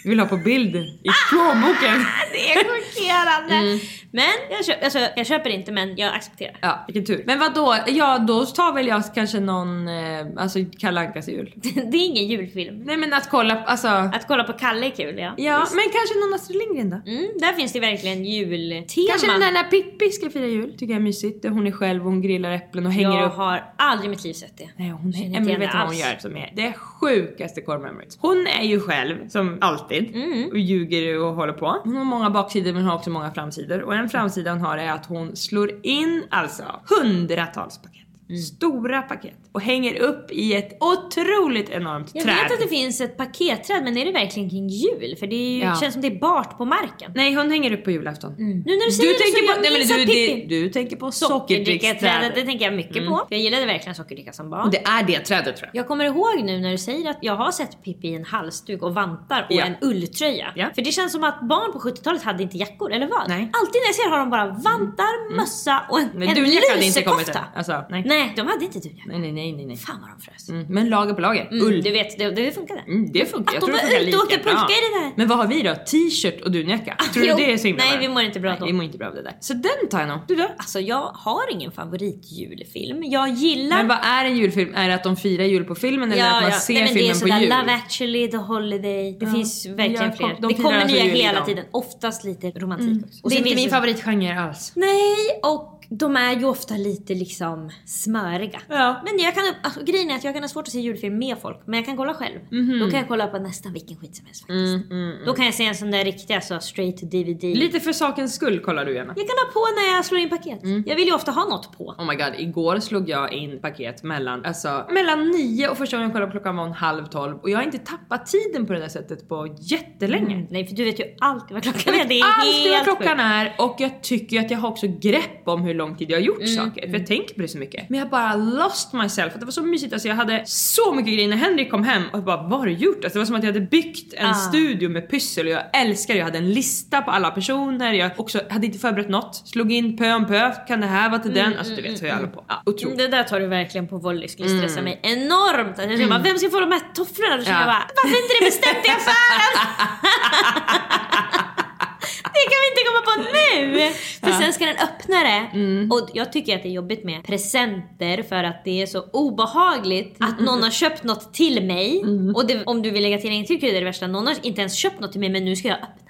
S3: Vill ha på bild i
S2: Ah!
S3: plånboken.
S2: Det är chockerande.
S3: Mm.
S2: Men jag, köp, alltså, jag köper inte men jag accepterar.
S3: Ja, vilken tur. Men vad då? Ja, då tar väl jag kanske någon, eh, alltså Kalle Ankas jul.
S2: Det är ingen julfilm.
S3: Nej men att kolla, alltså.
S2: Att kolla på Kalle är kul ja.
S3: Ja, men kanske någon Astrid Lindgren då?
S2: Mm, där finns det verkligen jultema.
S3: Kanske den där när Pippi ska fira jul, tycker jag är mysigt. Där Hon är själv och hon grillar äpplen och hänger
S2: Jag
S3: upp.
S2: har aldrig i mitt liv sett det.
S3: Nej, hon
S2: Känner
S3: är,
S2: inte
S3: Emily
S2: igen
S3: vet
S2: det
S3: vad hon
S2: alls.
S3: gör som är det sjukaste core memories. Hon är ju själv, som alltid,
S2: Mm.
S3: och ljuger och håller på. Hon har många baksidor men hon har också många framsidor. Och en framsida hon har är att hon slår in alltså hundratals paket.
S2: Mm.
S3: Stora paket. Och hänger upp i ett otroligt enormt
S2: Jag
S3: träd.
S2: vet att det finns ett paketträd men är det verkligen kring jul? För det är ju,
S3: Ja.
S2: känns som det är bart på marken.
S3: Nej hon hänger upp på julafton.
S2: Nu när du säger Mm. det så jag
S3: nej, men
S2: minns
S3: du,
S2: att
S3: det, Mm.
S2: Pippi...
S3: du tänker på
S2: Sockerdrickaträdet, det
S3: sockerdricksträdet.
S2: tänker jag mycket på. Jag gillade verkligen sockerdricka som barn.
S3: Och det är det trädet tror jag.
S2: Jag kommer ihåg nu när du säger att jag har sett Pippi i en halsduk och vantar och
S3: Ja.
S2: en ulltröja.
S3: Ja.
S2: För det känns som att barn på 70-talet hade inte jackor, eller vad?
S3: Nej. Mm.
S2: Alltid när jag ser har de bara vantar, mössa och en,
S3: Men
S2: en
S3: dunjacka hade inte kommit
S2: lusekofta.
S3: än. Alltså, nej.
S2: Nej, de hade inte dunjacka.
S3: Nej nej nej nej. nej.
S2: Fan vad de frös.
S3: Mm, men lager på lager.
S2: Mm,
S3: Ull.
S2: Du vet, det, det funkade.
S3: Mm, det funkar.
S2: Att
S3: Jag tror
S2: de
S3: det
S2: var
S3: funkar
S2: ute och
S3: lika
S2: åkte pulka
S3: bra.
S2: i det där.
S3: Men vad har vi då? T-shirt och dunjacka? Tror du
S2: Jo.
S3: det är så himla
S2: Nej,
S3: bra?
S2: vi mår inte bra
S3: Nej,
S2: då.
S3: Vi mår inte bra av det där. Så den tar jag nog. Du då?
S2: Alltså jag har ingen favoritjulfilm. Jag gillar...
S3: Men vad är en julfilm? Är det att de firar jul på filmen eller att man ser
S2: Nej, men
S3: filmen
S2: Det är
S3: på jul?
S2: sådär Love actually, The Holiday. Det finns verkligen
S3: Jag kom-
S2: fler.
S3: de
S2: det
S3: firar
S2: kommer
S3: alltså Mm.
S2: nya
S3: jul
S2: hela
S3: idag.
S2: tiden. Oftast lite romantik också. Och
S3: Det är
S2: sen
S3: inte
S2: finns
S3: min
S2: det-
S3: favoritgenre alls.
S2: Nej, och de är ju ofta lite liksom smöriga. Men jag kan, alltså, grejen är att jag kan ha svårt att se julfilm med folk, men jag kan kolla själv.
S3: Mhm.
S2: Då kan jag kolla på nästan vilken skit som helst faktiskt. Då kan jag se en sån där riktig alltså, straight to DVD.
S3: Mm, Lite för sakens skull kollar du gärna.
S2: Jag kan ha på när jag slår in paket.
S3: Mm.
S2: Jag vill ju ofta ha något på.
S3: Oh my god, igår slog jag in paket mellan, alltså, mellan nio och första gången jag kollade på klockan var hon halv tolv och jag har inte tappat tiden på det där sättet på jättelänge.
S2: Nej för du vet ju alltid vad klockan
S3: Mm.
S2: är.
S3: Jag
S2: Det
S3: vet
S2: är
S3: alltid vad
S2: helt
S3: klockan
S2: sjukt. Mm.
S3: är och jag tycker ju att jag har också grepp om hur lång tid jag har gjort saker för jag tänker på det så mycket. Men jag bara lost myself för att det var så mysigt, alltså jag hade så mycket grejer när Henrik kom hem och jag bara vad har du gjort? Alltså det var som att jag hade byggt en
S2: Ah.
S3: studio med pussel och jag älskar det. jag hade en lista på alla personer, jag också hade inte förberett något, slog in pö om pö, kan det här vara till
S2: Mm,
S3: den? Alltså du vet hur jag håller på. Ja, otroligt. Mm.
S2: Det där tar du verkligen på volley, skulle stressa mig enormt. Att Jag mm. bara, vem ska få de här tofflorna? Då känner jag
S3: Ja.
S2: bara, varför är inte det bestämt i affären? det kan vi inte komma på nu! För sen ska den öppna det.
S3: Mm.
S2: Och jag tycker att det är jobbigt med presenter för att det är så obehagligt att
S3: Mm.
S2: någon har köpt något till mig. Och det, om du vill lägga till en till krydda är det värsta, någon har inte ens köpt något till mig men nu ska jag öppna det.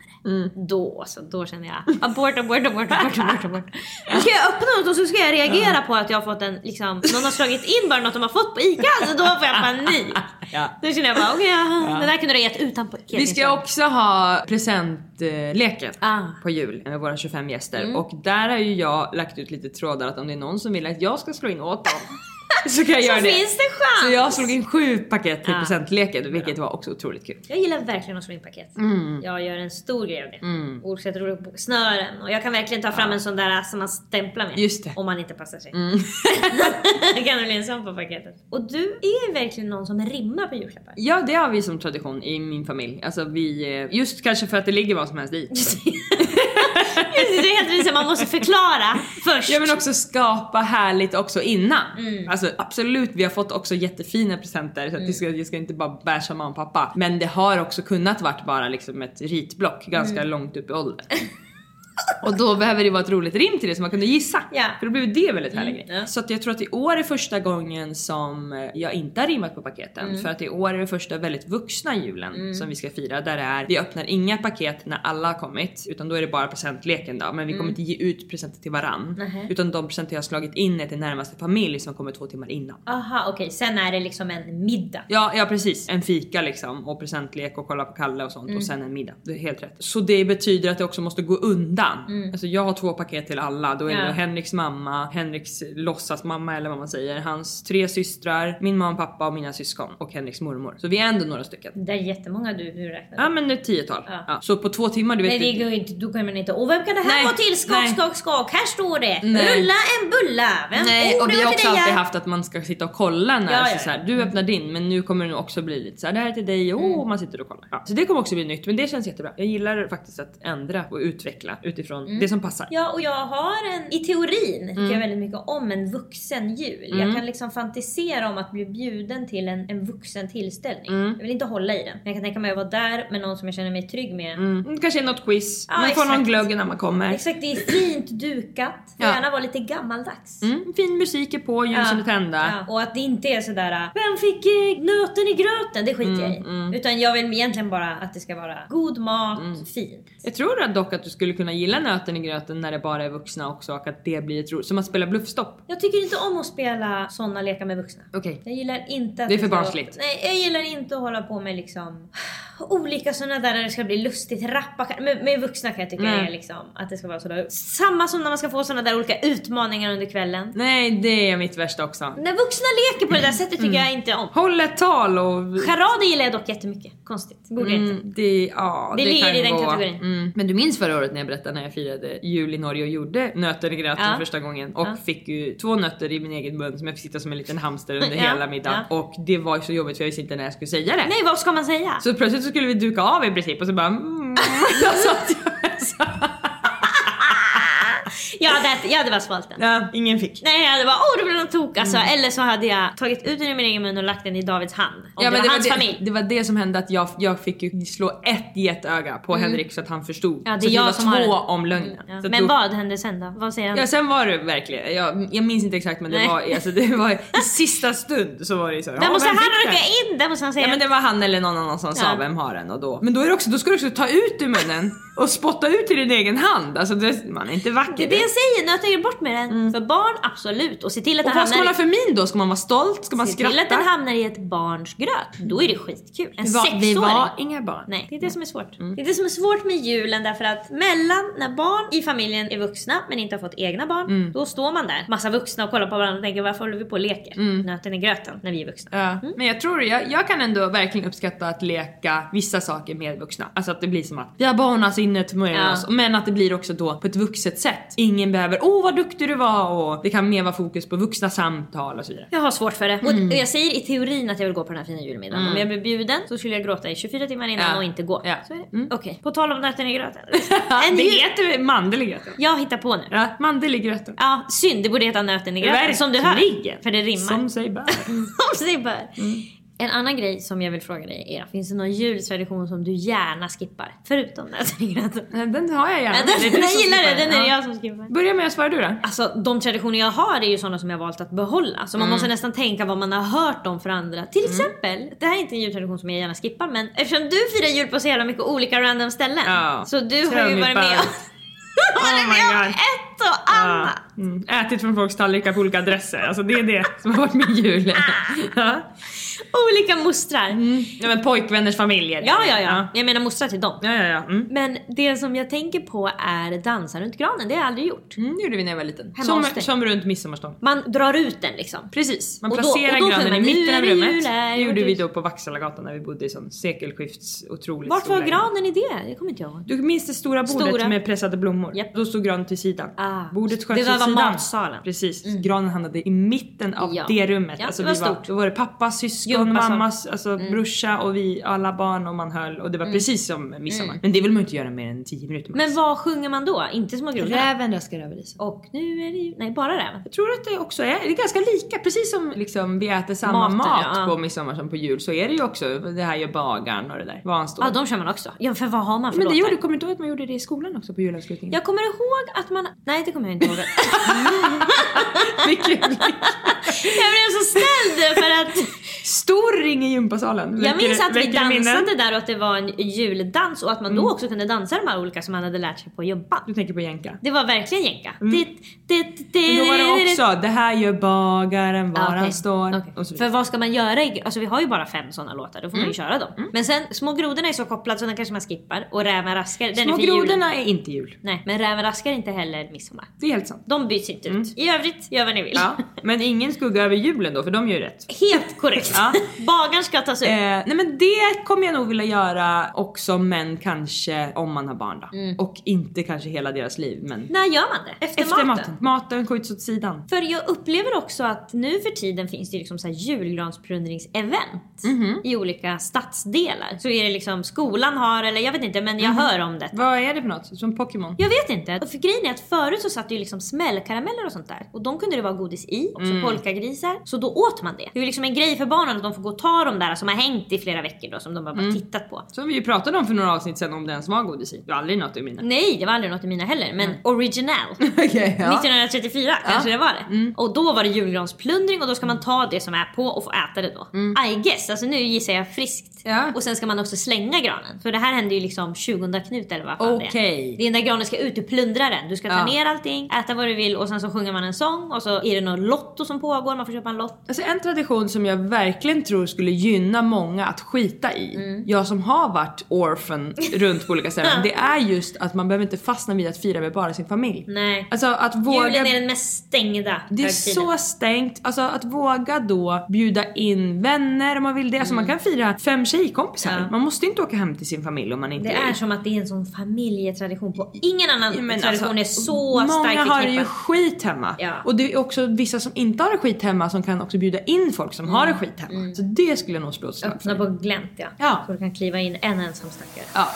S2: Då så, då känner jag abort, abort, abort, abort, abort, abort. Nu ska jag öppna något och så ska jag reagera på att jag har fått en, liksom, någon har slagit in bara något de har fått på ICA. Alltså då får jag panik.
S3: Ja.
S2: Då känner jag bara okej, ja. det där kunde du ha gett utan paket.
S3: Vi ska också ha presentleken
S2: Ah. Mm.
S3: på jul med våra 25 gäster och där har ju jag lagt ut lite trådar att om det är någon som vill att jag ska slå in åt dem så kan jag göra
S2: Så
S3: det.
S2: finns det chans.
S3: Så jag slog in sju paket till
S2: Ah.
S3: presentleken vilket var också otroligt kul.
S2: Jag gillar verkligen att slå in paket.
S3: Mm.
S2: Jag gör en stor grej av det. Mm. Och sätter upp snören. Och jag kan verkligen ta fram en sån där som man stämplar med.
S3: Just det. Mm.
S2: Om man inte passar sig. det kan bli en sån på paketet. Och du är ju verkligen någon som rimmar på julklappar.
S3: Ja det har vi som tradition i min familj. Alltså vi, eh, just kanske för att det ligger vad som helst i.
S2: Det är helt visst att man måste förklara först. Mm.
S3: Ja men också skapa härligt också innan. Alltså absolut, vi har fått också jättefina presenter så att det ska, jag ska inte bara basha mamma och pappa. Men det har också kunnat varit bara liksom ett ritblock ganska
S2: Mm.
S3: långt upp i åldern. Och då behöver det vara ett roligt rim till det som man kunde gissa.
S2: Ja.
S3: För då blev det väldigt härlig grej.
S2: ja.
S3: Så att jag tror att i år är första gången som eh, jag inte har rimmat på paketen. För att i år är det första väldigt vuxna julen som vi ska fira. Där det är, vi öppnar inga paket när alla har kommit. Utan då är det bara presentleken då. Men vi kommer inte ge ut presenter till varann. Utan de presenter jag har slagit in är till närmaste familj som kommer två timmar innan.
S2: Aha okej, sen är det liksom en middag.
S3: Ja, ja precis. En fika liksom och presentlek och kolla på Kalle och sånt
S2: Mm.
S3: och sen en middag. Det är helt rätt. Så det betyder att det också måste gå undan. Alltså jag har två paket till alla. Då är
S2: Mm. Ja.
S3: det Henriks mamma, Henriks låtsasmamma eller vad man säger, hans tre systrar, min mamma och pappa och mina syskon och Henriks mormor. Så vi är ändå några stycken.
S2: Det är jättemånga du, du räknar
S3: Ja men ett tiotal.
S2: Mm. Ja.
S3: Ja. Så på två timmar du vet
S2: Nej det går ju inte, då kan man inte, och vem kan det här
S3: Nej,
S2: vara till? Skak,
S3: nej.
S2: skak, skak, här står det!
S3: Nej.
S2: Rulla en bulla! Vem?
S3: Nej
S2: Oh,
S3: och
S2: det
S3: vi
S2: var
S3: har
S2: till
S3: också
S2: dig
S3: alltid
S2: här.
S3: haft att man ska sitta och kolla när
S2: Ja, ja,
S3: så
S2: ja. Mm.
S3: Så här, du öppnar din men nu kommer det nog också bli lite så här, det här är till dig och man sitter och kollar. Ja. Så det kommer också bli nytt men det känns jättebra. Jag gillar faktiskt att ändra och utveckla utifrån utifrån det som passar.
S2: Mm. Ja, och jag har en, i teorin tycker
S3: Mm.
S2: jag väldigt mycket om en vuxen jul. Jag kan liksom fantisera om att bli bjuden till en, en vuxen tillställning.
S3: Mm.
S2: Jag vill inte hålla i den. Men jag kan tänka mig att vara där med någon som jag känner mig trygg med.
S3: Mm, kanske något quiz,
S2: Ja,
S3: man får någon
S2: exakt.
S3: glögg när man kommer.
S2: Exakt, det är fint dukat. Får
S3: Ja.
S2: gärna vara lite gammaldags.
S3: Mm, fin musik är på, ljusen är tända.
S2: Ja. Och att det inte är sådär äh, “Vem fick eh, nöten i gröten?” Det skiter
S3: Mm,
S2: jag i. Utan jag vill egentligen bara att det ska vara god mat,
S3: Mm.
S2: fint.
S3: Jag tror dock att du skulle kunna gilla nöten i gröten när det bara är vuxna också och att det blir ett roligt... Som att spela bluffstopp.
S2: Jag tycker inte om att spela såna lekar med vuxna.
S3: Okej.
S2: Jag gillar inte att
S3: Det är för
S2: ska-
S3: barnsligt.
S2: Nej, jag gillar inte att hålla på med liksom olika sådana där där det ska bli lustigt. Rappa med, med vuxna kan jag tycka
S3: Nej.
S2: är liksom att det ska vara sådär. Samma som när man ska få sådana där olika utmaningar under kvällen.
S3: Nej, det är mitt värsta också.
S2: När vuxna leker på det där
S3: Mm.
S2: sättet tycker jag inte om.
S3: Håll ett tal och...
S2: Charader gillar jag dock jättemycket. Konstigt. Borde jag inte.
S3: Mm, det, ja,
S2: Det ligger
S3: kan
S2: i den
S3: gå.
S2: kategorin.
S3: Mm. Men du minns förra året när jag berättade när jag firade jul i Norge och gjorde nötter i gröten
S2: Ja.
S3: första gången och
S2: Ja.
S3: fick ju två nötter i min egen mun som jag fick sitta som en liten hamster under
S2: Ja.
S3: hela middagen. Och det var ju så jobbigt för jag visste inte när jag skulle säga det.
S2: Nej, vad ska man säga?
S3: Så plötsligt så skulle vi duka av i princip och så bara mm. så att jag, så,
S2: Jag hade, ätit, jag hade bara svalt den.
S3: ja, ingen fick.
S2: Nej jag hade bara åh det blev någon tok alltså.
S3: Mm.
S2: Eller så hade jag tagit ut den i min egen mun och lagt den i Davids hand. Om det var hans familj.
S3: det var det som hände att jag, jag fick ju slå ett getöga på Henrik så att han förstod.
S2: Ja, det är
S3: så
S2: jag
S3: var
S2: som har
S3: två
S2: det.
S3: om lögnen.
S2: Ja.
S3: Så att
S2: Men
S3: då-
S2: vad hände sen då? Vad säger han?
S3: Ja sen var det verkligen, jag, jag minns inte exakt men det
S2: Nej.
S3: var, alltså, det var i sista stund så var det ju så. här,
S2: där
S3: "Ja,
S2: måste
S3: vem
S2: han
S3: fick den?"
S2: rycka in, där måste han säga.
S3: Ja men det var han eller någon annan som sa
S2: Ja.
S3: vem har den och då. Men då är det också, då ska du också ta ut ur munnen och spotta ut i din egen hand. Alltså det, man är inte vacker.
S2: det är det jag säger, nöta er bort med den. För barn, absolut. Och se till att,
S3: Mm. och
S2: den
S3: vad ska man
S2: hamnar,
S3: ha
S2: i-
S3: för min då? Ska man vara stolt? Ska man
S2: se till att
S3: skratta?
S2: den hamnar i ett barns gröt. Då är det skitkul. En
S3: Vi var,
S2: sexåring.
S3: vi var inga barn.
S2: Nej, det är det som är svårt.
S3: Mm.
S2: Det är det som är svårt med julen därför att mellan när barn i familjen är vuxna men inte har fått egna barn,
S3: Mm.
S2: då står man där, massa vuxna och kollar på varandra och tänker varför håller vi på och leker? Nöten i gröten när vi är vuxna.
S3: Mm. Ja. Men jag tror, jag, jag kan ändå verkligen uppskatta att leka vissa saker med vuxna. Alltså att det blir som att vi har barnas inre
S2: Ja.
S3: ja. oss. Men att det blir också då på ett vuxet sätt. Ingen behöver åh vad duktig du var och det kan mer vara fokus på vuxna samtal och så vidare.
S2: Jag har svårt för det.
S3: Mm.
S2: Och, och jag säger i teorin att jag vill gå på den här fina julmiddagen. Om jag blir bjuden så skulle jag gråta i 24 timmar innan
S3: Ja.
S2: och inte gå.
S3: Ja.
S2: Så är det.
S3: Mm.
S2: Okej, på tal om nöten i gröten.
S3: det
S2: jul-
S3: heter mandel i gröten.
S2: Jag hittar på nu.
S3: Ja, mandel i gröten.
S2: Ja, synd. Det borde heta nöten i gröten. Som du hör.
S3: Verkligen.
S2: För det rimmar.
S3: Som sig bör.
S2: Som sig bör.
S3: Mm.
S2: En annan grej som jag vill fråga dig är, finns det någon jultradition som du gärna skippar? Förutom nöten i gröten.
S3: Nej, Den har jag gärna.
S2: Ja,
S3: Det är
S2: den,
S3: du
S2: den
S3: som
S2: gillar
S3: skippar
S2: du, den är det
S3: Ja.
S2: jag som skippar.
S3: Börja med att svara du då.
S2: Alltså de traditioner jag har är ju sådana som jag valt att behålla.
S3: Mm.
S2: Så man måste nästan tänka vad man har hört om för andra. Till exempel, det här är inte en jultradition som jag gärna skippar men eftersom du firar jul på så jävla mycket olika random ställen.
S3: Ja.
S2: Så du
S3: Tell
S2: har ju
S3: me
S2: varit med om,
S3: about
S2: varit
S3: Oh my
S2: med om
S3: God.
S2: ett och annat.
S3: Ja. Mm. Ätit från folks tallrikar på olika adresser. Alltså det är det som har varit min jul.
S2: Ah.
S3: Ja. Mm.
S2: Olika mostrar.
S3: Ja men pojkvänners familjer.
S2: Ja, ja, ja, Jag menar mostrar till dem.
S3: Ja, ja, ja. Mm.
S2: Men det som jag tänker på är dansa runt granen, det har jag aldrig gjort.
S3: Mm, det gjorde vi när jag var liten.
S2: Hemma
S3: Som,
S2: hos dig.
S3: som runt midsommarstången.
S2: Man drar ut den liksom.
S3: Precis, man
S2: Och då-
S3: placerar
S2: och då sjunger
S3: granen i
S2: man, "Nu
S3: mitten av
S2: är det jul,
S3: rummet.
S2: här typ-
S3: Det
S2: är
S3: gjorde
S2: vårt
S3: vi
S2: hus.
S3: då på Vaxhallagatan när vi bodde i sån sekelskifts otroligt
S2: Vart var
S3: stor lägenhet.
S2: granen i det? Det kommer inte jag ihåg.
S3: Du minns det stora bordet
S2: Stora.
S3: med pressade blommor?
S2: Japp.
S3: Då stod granen till sidan.
S2: Ah.
S3: Bordet
S2: Det
S3: sköts
S2: där
S3: åt
S2: var
S3: sidan.
S2: matsalen. Mm.
S3: Precis, granen hamnade i mitten av
S2: Ja.
S3: det rummet.
S2: Ja,
S3: alltså,
S2: det var
S3: vi var,
S2: stort. Mm.
S3: Då var det pappa, syskon,
S2: Gympasal.
S3: mammas, alltså brorsa och vi alla barn och man höll och det
S2: Mm.
S3: var precis som midsommar. Men det vill man ju inte göra mer än 10 minuter. max.
S2: Men vad sjunger man då? Inte Små grodorna?
S3: Räven röskar över isen.
S2: Och nu är det ju... Nej, bara räven.
S3: Jag tror att det också är, det är ganska lika, precis som liksom vi äter samma
S2: Maten,
S3: mat
S2: ja.
S3: på midsommar som på jul så är det ju också, det här gör bagaren och det där.
S2: Ja,
S3: Vanstående.
S2: de kör man också. Ja, för vad har man för
S3: men det
S2: låtar?
S3: gjorde, kommer du inte ihåg att man gjorde det i skolan också på julavslutningen?
S2: Jag kommer ihåg att man... Nej, det kommer jag inte ihåg.
S3: Mycket kul.
S2: jag blev så ställd för att
S3: Stor ring i gympasalen.
S2: jag minns att vi
S3: Väcker det minnen? Mm.
S2: dansade där och att det var en juldans och att man då också kunde dansa de här olika som man hade lärt sig på jobban.
S3: Du tänker på jänka.
S2: Det var verkligen jänka. Mm.
S3: Men då var det också, det här gör bagaren var han står. Och så
S2: Ah, För
S3: vidare. Mm.
S2: vad ska man göra? i- Alltså vi har ju bara fem sådana låtar, då får man ju köra dem. Men sen, Små grodorna är så kopplad så den kanske man skippar. Och Räven raskar, den
S3: Små
S2: är för julen.
S3: grodorna är inte jul.
S2: Nej, men Räven raskar är inte heller midsommar.
S3: Det är helt sant. Mm.
S2: De byts inte ut. I övrigt, gör vad ni vill.
S3: Ja. Men ingen skugga över julen då, för de gör ju rätt.
S2: Helt korrekt. Ja. Bagaren ska tas ut.
S3: Eh, nej men det kommer jag nog vilja göra också men kanske om man har barn då. Och inte kanske hela deras liv Mm. men
S2: När gör man det? Efter,
S3: efter maten. Maten, skjuts åt sidan.
S2: För jag upplever också att nu för tiden finns det ju liksom så här julgransplundringsevent
S3: Mhm.
S2: i olika stadsdelar. Så är det liksom skolan har, eller jag vet inte, men jag
S3: Mhm.
S2: hör om det.
S3: Vad är det för något? Som Pokémon?
S2: Jag vet inte. Och för grejen är att förut så satt det ju liksom smällkarameller och sånt där. Och de kunde det vara godis i, också polkagrisar. Så då åt man det. Det är ju liksom en grej för barnen att de får gå och ta de där som har hängt i flera veckor då som de bara, bara tittat på.
S3: Som vi ju pratade om för några avsnitt sedan om det ens var godis i. Det var aldrig något i mina.
S2: Nej, det var aldrig något i mina heller, men original.
S3: Mm. Okej, ja. Mm.
S2: 1934 kanske det var det. Och då var det julgransplundring och då ska man ta det som är på och få äta det då. I guess, alltså nu gissar jag friskt.
S3: Mm. Ja.
S2: Och sen ska man också slänga granen. För det här hände ju liksom 20 Knut eller vad fan det
S3: Okej.
S2: är. Det är när granen ska ut, du plundrar den. Du ska ta
S3: Ja.
S2: ner allting, äta vad du vill och sen så sjunger man en sång och så är det någon lotto som pågår, man får köpa en lott.
S3: Alltså en tradition som jag verkligen tror skulle gynna många att skita i, jag som har varit orphan runt på olika ställen, det är just att man behöver inte fastna vid att fira med bara sin familj.
S2: Nej.
S3: Alltså att våga...
S2: Julen är den mest stängda
S3: Det är
S2: högtiden.
S3: så stängt. Alltså att våga då bjuda in vänner om man vill det. Alltså man kan fira fem tjejkompisar.
S2: Mm. Ja.
S3: Man måste inte åka hem till sin familj om man inte
S2: Det är som att det är en sån familjetradition på ingen annan
S3: Ja, men
S2: tradition är
S3: alltså,
S2: så starkt
S3: Många har det ju
S2: förknippad.
S3: skit hemma.
S2: Ja.
S3: Och det är också vissa som inte har det skit hemma som kan också bjuda in folk som har det
S2: Mm.
S3: skit hemma. Så det skulle jag nog slå ett slag
S2: Öppna
S3: för.
S2: på glänt ja.
S3: Ja.
S2: Så du kan kliva in en ensam stackare.
S3: Ja.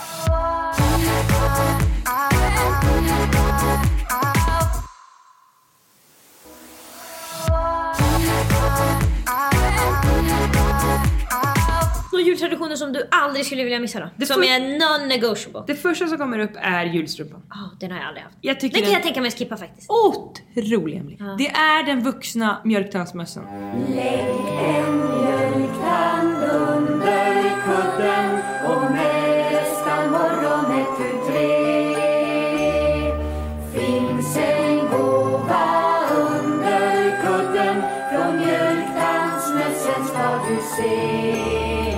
S2: Några jultraditioner som du aldrig skulle vilja missa då? som
S3: får-
S2: är non-negotiable.
S3: Det första som kommer upp är julstrumpan.
S2: Ja, den har jag aldrig haft.
S3: Jag tycker
S2: den kan
S3: den-
S2: jag tänka mig att skippa faktiskt.
S3: Otrolig Emily. Det är den vuxna mjölktandsmössan.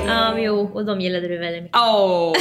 S2: Ja, men jo. Och de gillade du väldigt mycket.
S3: Oh.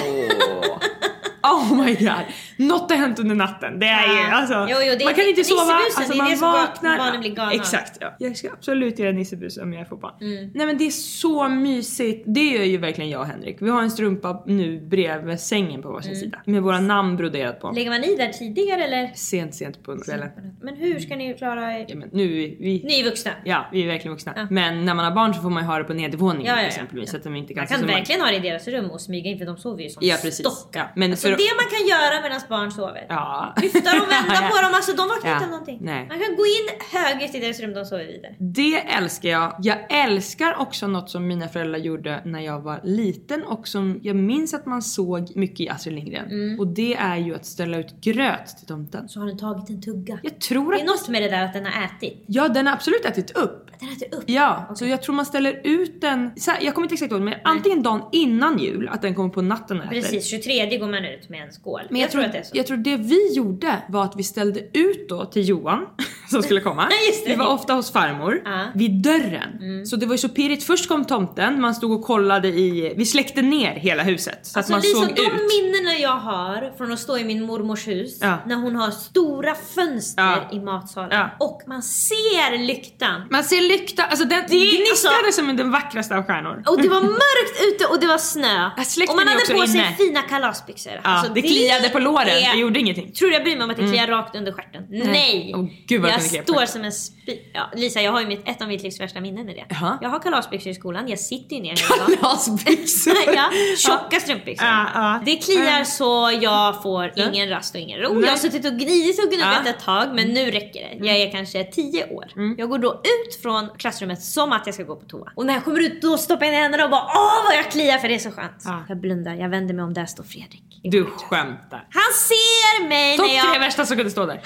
S3: oh my god. Något har hänt under natten. Det är ju
S2: Ja.
S3: alltså.
S2: Jo, jo, det är
S3: man kan inte sova.
S2: nissebusen,
S3: Alltså,
S2: det är
S3: man
S2: det som
S3: vaknar.
S2: barn- barnen blir galna Mm. av.
S3: Exakt. Ja. Jag ska absolut göra nissebus om jag får barn. Nej men det är så mysigt. Det gör ju verkligen jag och Henrik. Vi har en strumpa nu bredvid sängen på varsin
S2: Mm.
S3: sida. Med våra namn broderat på.
S2: Lägger man i där tidigare eller?
S3: Sent sent på kvällen.
S2: Men hur ska ni klara er?
S3: Ja, men nu är vi... vi
S2: Ni är vuxna.
S3: Ja, vi är verkligen vuxna. Men när man har barn så får man ju ha det på nedervåningen
S2: Ja, ja, ja.
S3: exempelvis. Så att de inte kan...
S2: Man kan
S3: så man-
S2: verkligen ha det i deras rum och smyga in för de sover ju som
S3: Ja precis.
S2: stockar.
S3: Ja, men
S2: Alltså
S3: för-
S2: det man kan göra medan barn sover.
S3: Ja.
S2: Lyfta dem, vända på dem, alltså de vaknar
S3: Ja.
S2: inte av någonting.
S3: Nej.
S2: Man kan gå in högst i deras rum, de sover vidare.
S3: Det älskar jag. Jag älskar också något som mina föräldrar gjorde när jag var liten och som jag minns att man såg mycket i Astrid Lindgren.
S2: Mm.
S3: Och det är ju att ställa ut gröt till tomten.
S2: Så har den tagit en tugga.
S3: Jag tror
S2: Det
S3: att...
S2: är något med det där att den har ätit.
S3: Ja, den har absolut ätit upp.
S2: Den äter upp.
S3: Ja, så jag tror man ställer ut den, så här, jag kommer inte exakt ihåg men antingen dagen innan jul, att den kommer på natten och äter.
S2: Precis, 23 går man ut med en skål.
S3: Men jag, tror,
S2: att det är så.
S3: Jag tror det vi gjorde var att vi ställde ut då till Johan som skulle komma.
S2: Ja, just det.
S3: Vi var ofta hos farmor
S2: Ja. Mm.
S3: vid dörren. Så det var ju så pirrigt. Först kom tomten, man stod och kollade i, vi släckte ner hela huset så
S2: Alltså
S3: att man
S2: Lisa,
S3: såg
S2: de
S3: ut.
S2: minnena jag har från att stå i min mormors hus
S3: Ja.
S2: när hon har stora fönster
S3: Ja.
S2: i matsalen
S3: Ja.
S2: och man ser lyktan.
S3: Man ser lykta, alltså den gnistrade
S2: alltså-
S3: som den vackraste av stjärnor.
S2: Och det var mörkt ute och det var snö.
S3: Ja, släkten
S2: Och man
S3: är
S2: hade
S3: också
S2: på sig
S3: inne.
S2: fina kalasbyxor. Alltså, Ja,
S3: det kliade på låren, det gjorde ingenting.
S2: Tror du jag bryr mig om att det kliar rakt under stjärten? Nej!
S3: Mm. Åh, gud, vad
S2: jag
S3: jag kunde greppa
S2: står
S3: det.
S2: som en spy... Ja, Lisa, jag har ju mitt, ett av mitt livs värsta minnen i det.
S3: Jaha.
S2: Jag har kalasbyxor i skolan, jag sitter ju ner hela dagen.
S3: Kalasbyxor!
S2: ja, tjocka strumpbyxor.
S3: Ja, ja.
S2: Det kliar så jag får ingen rast och ingen ro. Jag har suttit och gnidit och gnuggat
S3: Ja. Mm.
S2: ett tag men nu räcker det. Jag är kanske 10 år. Jag går då ut från klassrummet som att jag ska gå på toa. Och när jag kommer ut då stoppar jag in händerna och bara åh vad jag kliar för det är så skönt.
S3: Ja.
S2: Jag blundar, jag vänder mig om, där står Fredrik.
S3: Du skämtar.
S2: Han ser mig
S3: Topp
S2: när
S3: tre
S2: jag...
S3: värsta som kunde stå där.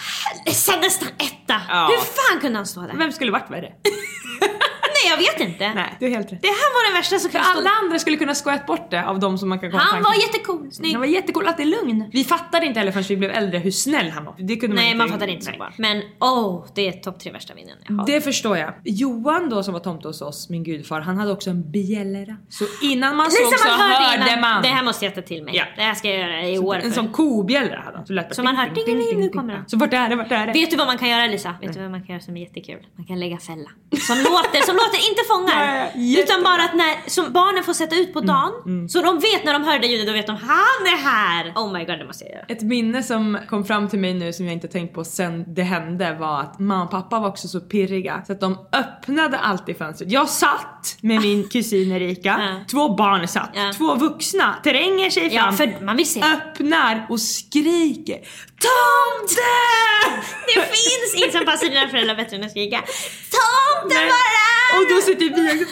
S2: Sen nästan etta!
S3: Ja.
S2: Hur fan kunde han stå där?
S3: Vem skulle varit värre?
S2: Nej jag vet inte.
S3: Nej, du har helt rätt.
S2: Det här var den värsta som
S3: För
S2: kunde
S3: alla
S2: stå
S3: andra skulle kunna skojat bort det av de som man kan komma
S2: Han
S3: tanken
S2: var
S3: på.
S2: jättecool, snygg.
S3: Han var jättecool, att det är lugn. Vi fattade inte heller förrän vi blev äldre hur snäll han var. Det kunde
S2: Nej
S3: inte,
S2: man fattar inte så bara. Men oh, det är topp tre värsta minnen jag har.
S3: Det förstår jag. Johan då som var tomte hos oss, min gudfar, han hade också en bjällra. Så innan man såg så
S2: Lisa, man hörde
S3: hörde
S2: innan.
S3: man.
S2: Det här måste jag ta till mig.
S3: Ja.
S2: Det här ska jag göra i år.
S3: en
S2: för-
S3: sån kobjällra hade han. Så, lät det.
S2: Så man hör, ding, ding, ding, nu kommer den.
S3: Så vart är det, vart är det?
S2: Vet du vad man kan göra Lisa? Vet du vad man kan göra som är jättekul? Man kan lägga fälla. Som låter, som låter inte fångar.
S3: Nej, jätte- Mm,
S2: utan bara att när, som barnen får sätta ut på dagen. Så de vet när de hör det ljudet, då vet de han är här! Oh my god det måste jag göra.
S3: Ett minne som kom fram till mig nu som jag inte tänkt på sen det hände var att mamma och pappa var också så pirriga så att de öppnade alltid fönstret. Jag satt med
S2: Ah.
S3: min kusin Erika,
S2: Ja.
S3: två barn satt,
S2: Ja.
S3: två vuxna tränger sig
S2: Ah. Ja
S3: fram,
S2: för man vill se.
S3: öppnar och skriker TOMTE!
S2: Det finns inte som passar dina föräldrar bättre än att skrika Tomten
S3: Nej.
S2: var här!
S3: Och då sitter vi och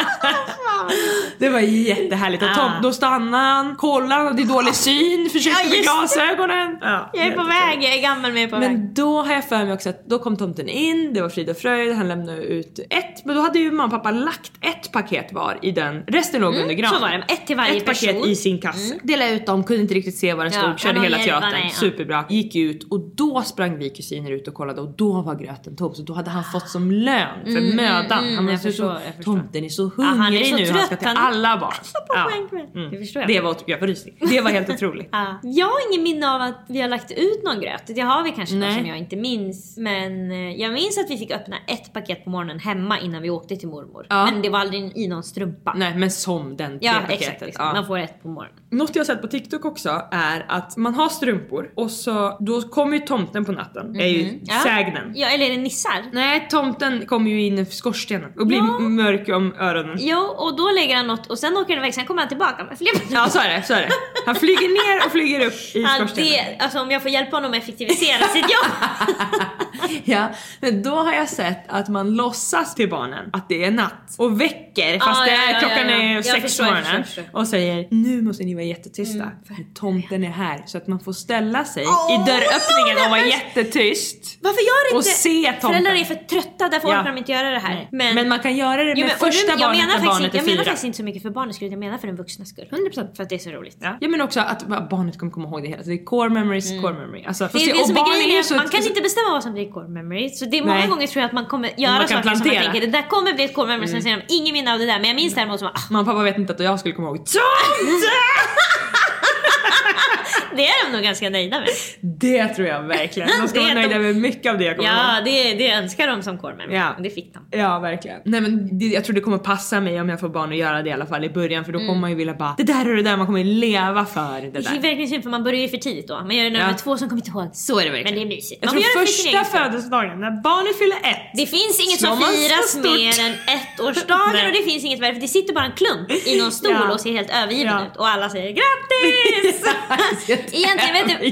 S3: TOMTE! Det var jättehärligt. Och Tom,
S2: Ah.
S3: då stannar han, kollar, han hade dålig syn, försökte
S2: Ja,
S3: med
S2: just
S3: glasögonen. Ja,
S2: Jag är på
S3: jättefint.
S2: väg, jag är gammal men jag är på väg.
S3: Men då har jag för mig också att då kom tomten in, det var frid och fröjd, han lämnade ut ett, men då hade ju mamma och pappa lagt ett paket var i den, resten låg under granen.
S2: Mm, så var det. Ett till varje
S3: Ett paket
S2: person. Mm.
S3: i sin kasse. Delade ut dem, kunde inte riktigt se var den
S2: Ja,
S3: stod, körde
S2: ja,
S3: hela
S2: men
S3: teatern,
S2: hjälparna, ja.
S3: superbra. Gick ut och då sprang vi kusiner ut och kollade och då var gröten tom så då hade han fått som lön för mödan.
S2: mm,
S3: han var
S2: jag
S3: så,
S2: förstår,
S3: så,
S2: jag förstår.
S3: tomten är så
S2: är
S3: hungrig
S2: så
S3: nu, han ska
S2: trött,
S3: till
S2: han-
S3: alla barn. Mm.
S2: poäng med. Det förstår jag.
S3: Det var, jag får rysning. Det var helt otroligt.
S2: Ja. Jag har ingen minne av att vi har lagt ut någon gröt. Det har vi kanske något
S3: Nej.
S2: som jag inte minns. Men eh, jag minns att vi fick öppna ett paket på morgonen hemma innan vi åkte till mormor.
S3: Ja.
S2: Men det var aldrig i någon strumpa.
S3: Nej men som den det
S2: Ja
S3: paketet.
S2: exakt, exakt.
S3: Ja.
S2: man får ett på morgonen.
S3: Något jag har sett på TikTok också är att man har strumpor och så då kommer ju tomten på natten. Är ju
S2: Mhm. Ja.
S3: sägnen.
S2: Ja eller är det nissar?
S3: Nej tomten kommer ju in i skorstenen och blir
S2: Ja.
S3: mörk om öronen.
S2: Jo och då lägger han något och sen åker han iväg, sen kommer han tillbaka med fler
S3: Ja så är det, så är det. Han flyger ner och flyger upp i
S2: Ja,
S3: skorstenen.
S2: det, alltså om jag får hjälpa honom att effektivisera sitt jobb.
S3: Ja, men då har jag sett att man låtsas till barnen att det är natt och väcker fast
S2: Ah,
S3: det
S2: ja,
S3: är,
S2: ja,
S3: klockan
S2: ja, ja.
S3: är
S2: Jag
S3: sex
S2: förstår,
S3: på
S2: jag
S3: morgonen
S2: förstår, jag förstår. Mm,
S3: och säger nu måste ni vara jättetysta för tomten är här så att man får ställa sig i dörröppningen och vara jättetyst.
S2: Varför gör inte
S3: Och se tomten.
S2: föräldrar är för trötta, därför
S3: Ja.
S2: orkar de inte göra det här.
S3: Men, man kan göra det med
S2: Jo, men, och nu-
S3: första
S2: jag
S3: barnet
S2: menar
S3: när
S2: faktiskt
S3: barnet
S2: inte-
S3: är
S2: Jag menar
S3: fyra.
S2: faktiskt inte så mycket för barnens skull, jag menar för den vuxnas skull. 100% för att det är så roligt.
S3: Ja men också att barnet kommer komma ihåg det hela. Så det är core memories, core memory. Alltså,
S2: Mm. Det
S3: fast
S2: är det
S3: och
S2: som
S3: barn
S2: är grejen,
S3: ju
S2: är att
S3: så-
S2: man kan inte bestämma vad som blir core memory. Så det är många
S3: Nej.
S2: gånger tror jag att man kommer göra
S3: kan
S2: saker som
S3: plantera. Mm.
S2: man tänker, det där kommer bli ett core memory, sen säger de ingen minne av det där. Men jag minns däremot som ah,
S3: Mamma och pappa vet inte att jag skulle komma ihåg
S2: det är de nog ganska nöjda med.
S3: Det tror jag verkligen. De ska
S2: Det
S3: vara
S2: är de-
S3: nöjda med mycket av det jag kommer ihåg.
S2: Ja, det, det önskar de som core memory.
S3: Ja.
S2: Och det fick de.
S3: Ja verkligen. Nej men det, jag tror det kommer passa mig om jag får barn att göra det i alla fall i början
S2: Mm.
S3: för då kommer man ju vilja bara det där och det där man kommer leva för det
S2: Det är
S3: där.
S2: verkligen synd för man börjar ju för tidigt då. Man gör det när de
S3: Ja.
S2: är två som kommer inte ihåg.
S3: Så är det verkligen.
S2: Men det är mysigt.
S3: Jag
S2: Man får
S3: tror
S2: göra det för sin
S3: första
S2: egen skull.
S3: födelsedagen när barnet fyller ett.
S2: Det finns inget
S3: Slår
S2: som
S3: man så
S2: firas
S3: stort?
S2: mer än ettårsdagen
S3: Nej.
S2: och det finns inget värre för det sitter bara en klump i någon stol
S3: Ja.
S2: och ser helt övergiven
S3: Ja.
S2: ut och alla säger grattis! egentligen, vet du,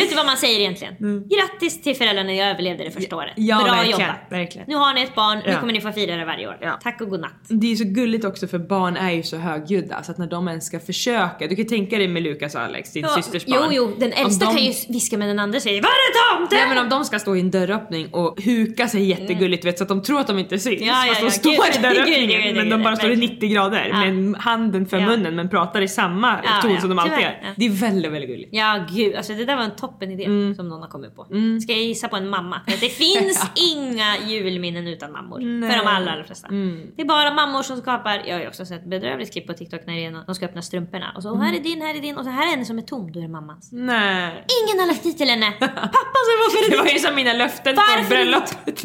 S2: vet du vad man säger egentligen? Grattis till föräldrarna, när jag överlevde det första året.
S3: Mm. Ja,
S2: Bra
S3: verkligen,
S2: jobbat!
S3: verkligen.
S2: Nu har ni ett barn, nu
S3: Ja.
S2: kommer ni få fira det varje år.
S3: Ja.
S2: Tack och godnatt.
S3: Det är ju så gulligt också för barn är ju så högljudda så att när de ens ska försöka, du kan ju tänka dig med Lukas och Alex, din systers barn.
S2: jo, jo, den
S3: Om
S2: äldsta
S3: de-
S2: kan ju viska men den andra säger Var är tomten?
S3: Nej men om de ska stå i en dörröppning och huka sig jättegulligt vet, så att de tror att de inte syns
S2: Mm. Ja, ja,
S3: fast de
S2: ja.
S3: står
S2: Gud,
S3: i
S2: gud, gud,
S3: dörröppningen
S2: gud,
S3: men de
S2: gud,
S3: bara står i
S2: verkligen.
S3: 90 grader
S2: Ja.
S3: med handen för
S2: Ja.
S3: munnen men pratar i samma
S2: Ja,
S3: ton
S2: ja.
S3: som de alltid
S2: Tyvärr,
S3: gör.
S2: ja.
S3: Det är väldigt väldigt gulligt.
S2: Ja gud, alltså det där var en toppen idé
S3: Mm.
S2: som någon har kommit på. Ska jag gissa på en mamma? För att Det finns inga julminnen utan mammor. För de allra, allra flesta.
S3: Mm.
S2: Det är bara mammor som skapar, jag har ju också sett bedrövligt klipp på TikTok när det är någon, de ska öppna strumporna och så
S3: Mm.
S2: här är din, här är din och så här är en som är tom, då är det mammans.
S3: Nej.
S2: Ingen har lagt dit till henne!
S3: Pappa så varför Det var ju som mina löften
S2: Varför
S3: från bröllopet.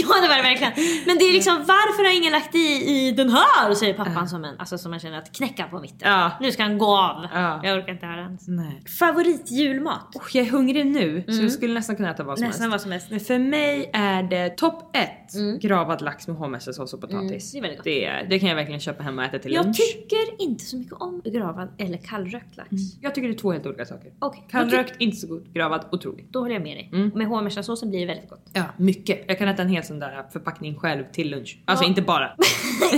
S2: ja det var det verkligen. Men det är liksom varför har ingen lagt i, i den här? Säger pappan som en, alltså som man känner att knäcka på mitten.
S3: Ja.
S2: Nu ska han gå av.
S3: Ja.
S2: Jag orkar inte höra hans.
S3: Nej.
S2: Favoritjulmat?
S3: Oh, jag är hungrig nu så jag skulle nästan kunna äta vad som
S2: Mm. Nästan
S3: helst.
S2: vad som helst.
S3: Men för mig är det topp ett gravad lax med hummersås och potatis.
S2: Mm, det är väldigt gott.
S3: Mm. det, är- det kan jag verkligen köpa hemma och äta till
S2: Jag
S3: lunch.
S2: tycker inte så mycket om gravad eller kallrökt lax.
S3: jag tycker det är två helt olika saker.
S2: Okej,
S3: Kallrökt, inte så god. Gravad, otroligt.
S2: då håller jag med dig.
S3: Mm.
S2: Med hummersåsen blir det väldigt gott.
S3: Ja, mycket. Jag kan äta en hel sån där förpackning själv till lunch. Alltså
S2: Ja.
S3: inte bara.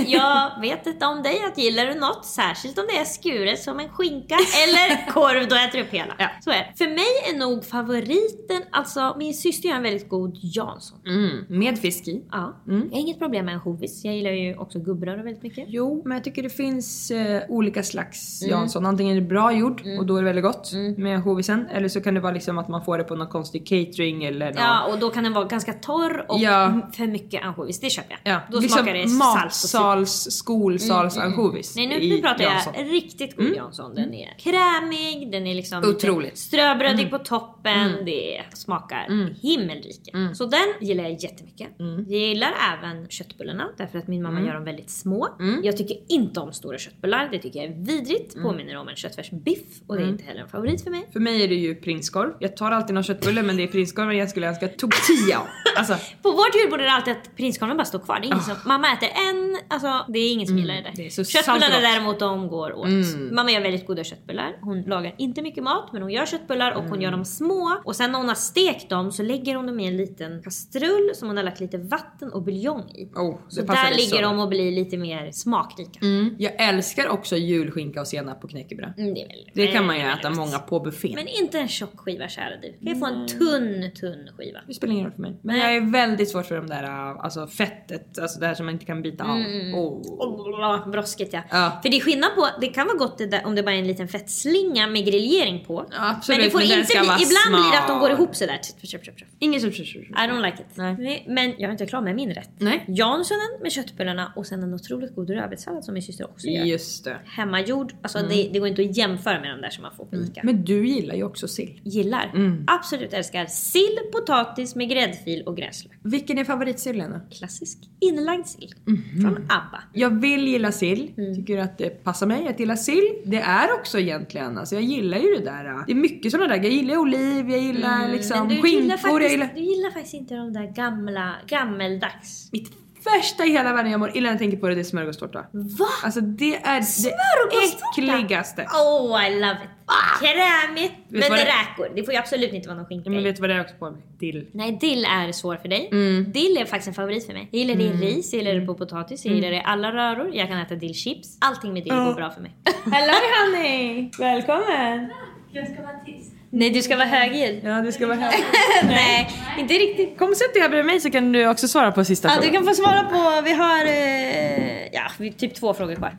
S2: jag vet inte om dig att gillar du något, särskilt om det är skuret som en skinka eller korv, då äter du upp hela.
S3: Ja.
S2: Så är det. För mig är nog favoriten, alltså min syster gör en väldigt god Jansson.
S3: Mm, med fisk i.
S2: Ja.
S3: Mm.
S2: Jag har inget problem med ansjovis, jag gillar ju också gubbröra väldigt mycket.
S3: Jo, men jag tycker det finns eh, olika slags Jansson. Antingen är det bra gjord och då är det väldigt gott med ansjovisen. Eller så kan det vara liksom att man får det på någon konstig catering eller någon...
S2: Ja, och då kan den vara ganska torr och
S3: Ja.
S2: m- för mycket ansjovis, det köper jag.
S3: Ja,
S2: Då
S3: liksom
S2: smakar det salt och Mm,
S3: matsals, skolsals ansjovis
S2: Nej nu,
S3: i
S2: nu pratar jag
S3: Jansson. Mm.
S2: riktigt god Jansson. Den är krämig, den är liksom
S3: Otroligt. Mm.
S2: lite ströbrödig på toppen, det smakar himmelrike.
S3: Mm.
S2: Så den gillar jag jättemycket. Jag gillar även köttbullarna därför att min mamma
S3: Mm.
S2: gör dem väldigt små. Jag tycker inte om stora köttbullar, det tycker jag är vidrigt.
S3: Mm.
S2: Påminner om en köttfärsbiff och det är inte heller en favorit för mig.
S3: För mig är det ju prinskorv. Jag tar alltid någon köttbulle men det är prinskorv jag skulle önska tortilla. Alltså,
S2: På vårt julbord är det alltid att prinskorven bara står kvar. Det är ingen som, mamma äter en, alltså det är ingen som gillar det där.
S3: Ah. Mm. det är så salt
S2: Köttbullarna
S3: och Mm. gott.
S2: däremot de går åt. Mamma gör väldigt goda köttbullar. Hon lagar inte mycket mat men hon gör köttbullar och hon
S3: Mm.
S2: gör dem små. Och sen när hon har stekt dem så lägger hon dem i en liten kastrull som hon har lagt lite vatten och buljong i.
S3: oh, det
S2: så
S3: passar
S2: där
S3: dig
S2: ligger
S3: så.
S2: de och blir lite mer smakrika.
S3: Mm. Jag älskar också julskinka och senap på knäckebröd.
S2: Mm, det, är väl-
S3: Det kan man ju
S2: väldigt
S3: äta
S2: gott.
S3: många på buffén.
S2: Men inte en tjock skiva kära du. Kan jag få en tunn, tunn skiva?
S3: Det spelar ingen roll för mig. Men jag är väldigt svårt för de där äh, alltså fettet, alltså det här som man inte kan bita av.
S2: Mm,
S3: Oh.
S2: Åh, Brosket ja.
S3: Ja.
S2: För det är skillnad på, det kan vara gott det där, om det bara är en liten fettslinga med grillering på.
S3: absolut,
S2: men det får
S3: men den
S2: inte
S3: ska
S2: bli,
S3: vara
S2: ibland blir det att de går
S3: smal.
S2: ihop sådär. Tjup, tjup, tjup, tjup.
S3: Ingen tjup, tjup, tjup, tjup.
S2: I don't like it.
S3: Nej.
S2: Men jag är inte klar med min rätt.
S3: Nej.
S2: Janssonen med köttbullarna och sen en otroligt god rödbetssallad som min syster också gör.
S3: Just det.
S2: Hemmagjord, alltså det, det går inte att jämföra med de där som man får på Ica.
S3: Mm. Men Mm. du gillar ju också sill.
S2: Gillar. Absolut älskar sill, potatis med gräddfil och gräslök.
S3: Vilken är favoritsillen då?
S2: Klassisk inlagd sill.
S3: Mhm.
S2: Från ABBA.
S3: Jag vill gilla sill.
S2: Mm.
S3: Tycker att det passar mig att gilla sill. Det är också egentligen, alltså jag gillar ju det där. äh, Det är mycket sådana där, jag gillar oliv, jag gillar liksom
S2: Mm. Men du gillar,
S3: skinkor, jag
S2: faktiskt,
S3: gillar...
S2: du gillar faktiskt inte de där gamla, gammeldags.
S3: Mitt värsta i hela världen jag mår illa när jag tänker på det, det är smörgåstårta. Va? Alltså det är det
S2: Smörgåstårta?
S3: äckligaste.
S2: Oh I love it! Krämigt! Men
S3: du vad
S2: det
S3: det-
S2: räkor, det får ju absolut inte vara någon skinka
S3: Men
S2: i.
S3: vet du vad det är också på mig? Dill.
S2: Nej dill är svår för dig. Dill är faktiskt en favorit för mig. Jag gillar det i ris, jag gillar det på potatis, jag gillar det i alla röror, jag kan äta dillchips. Allting med dill går bra för mig.
S5: Hello honey! Välkommen!
S2: Nej du ska vara högljudd.
S3: Ja det ska vara här.
S2: Nej, inte riktigt.
S5: Kom sätt dig här bredvid mig så kan du också svara på sista
S2: Ja, du
S5: frågan.
S2: kan få svara på, vi har eh, ja, vi- typ två frågor kvar.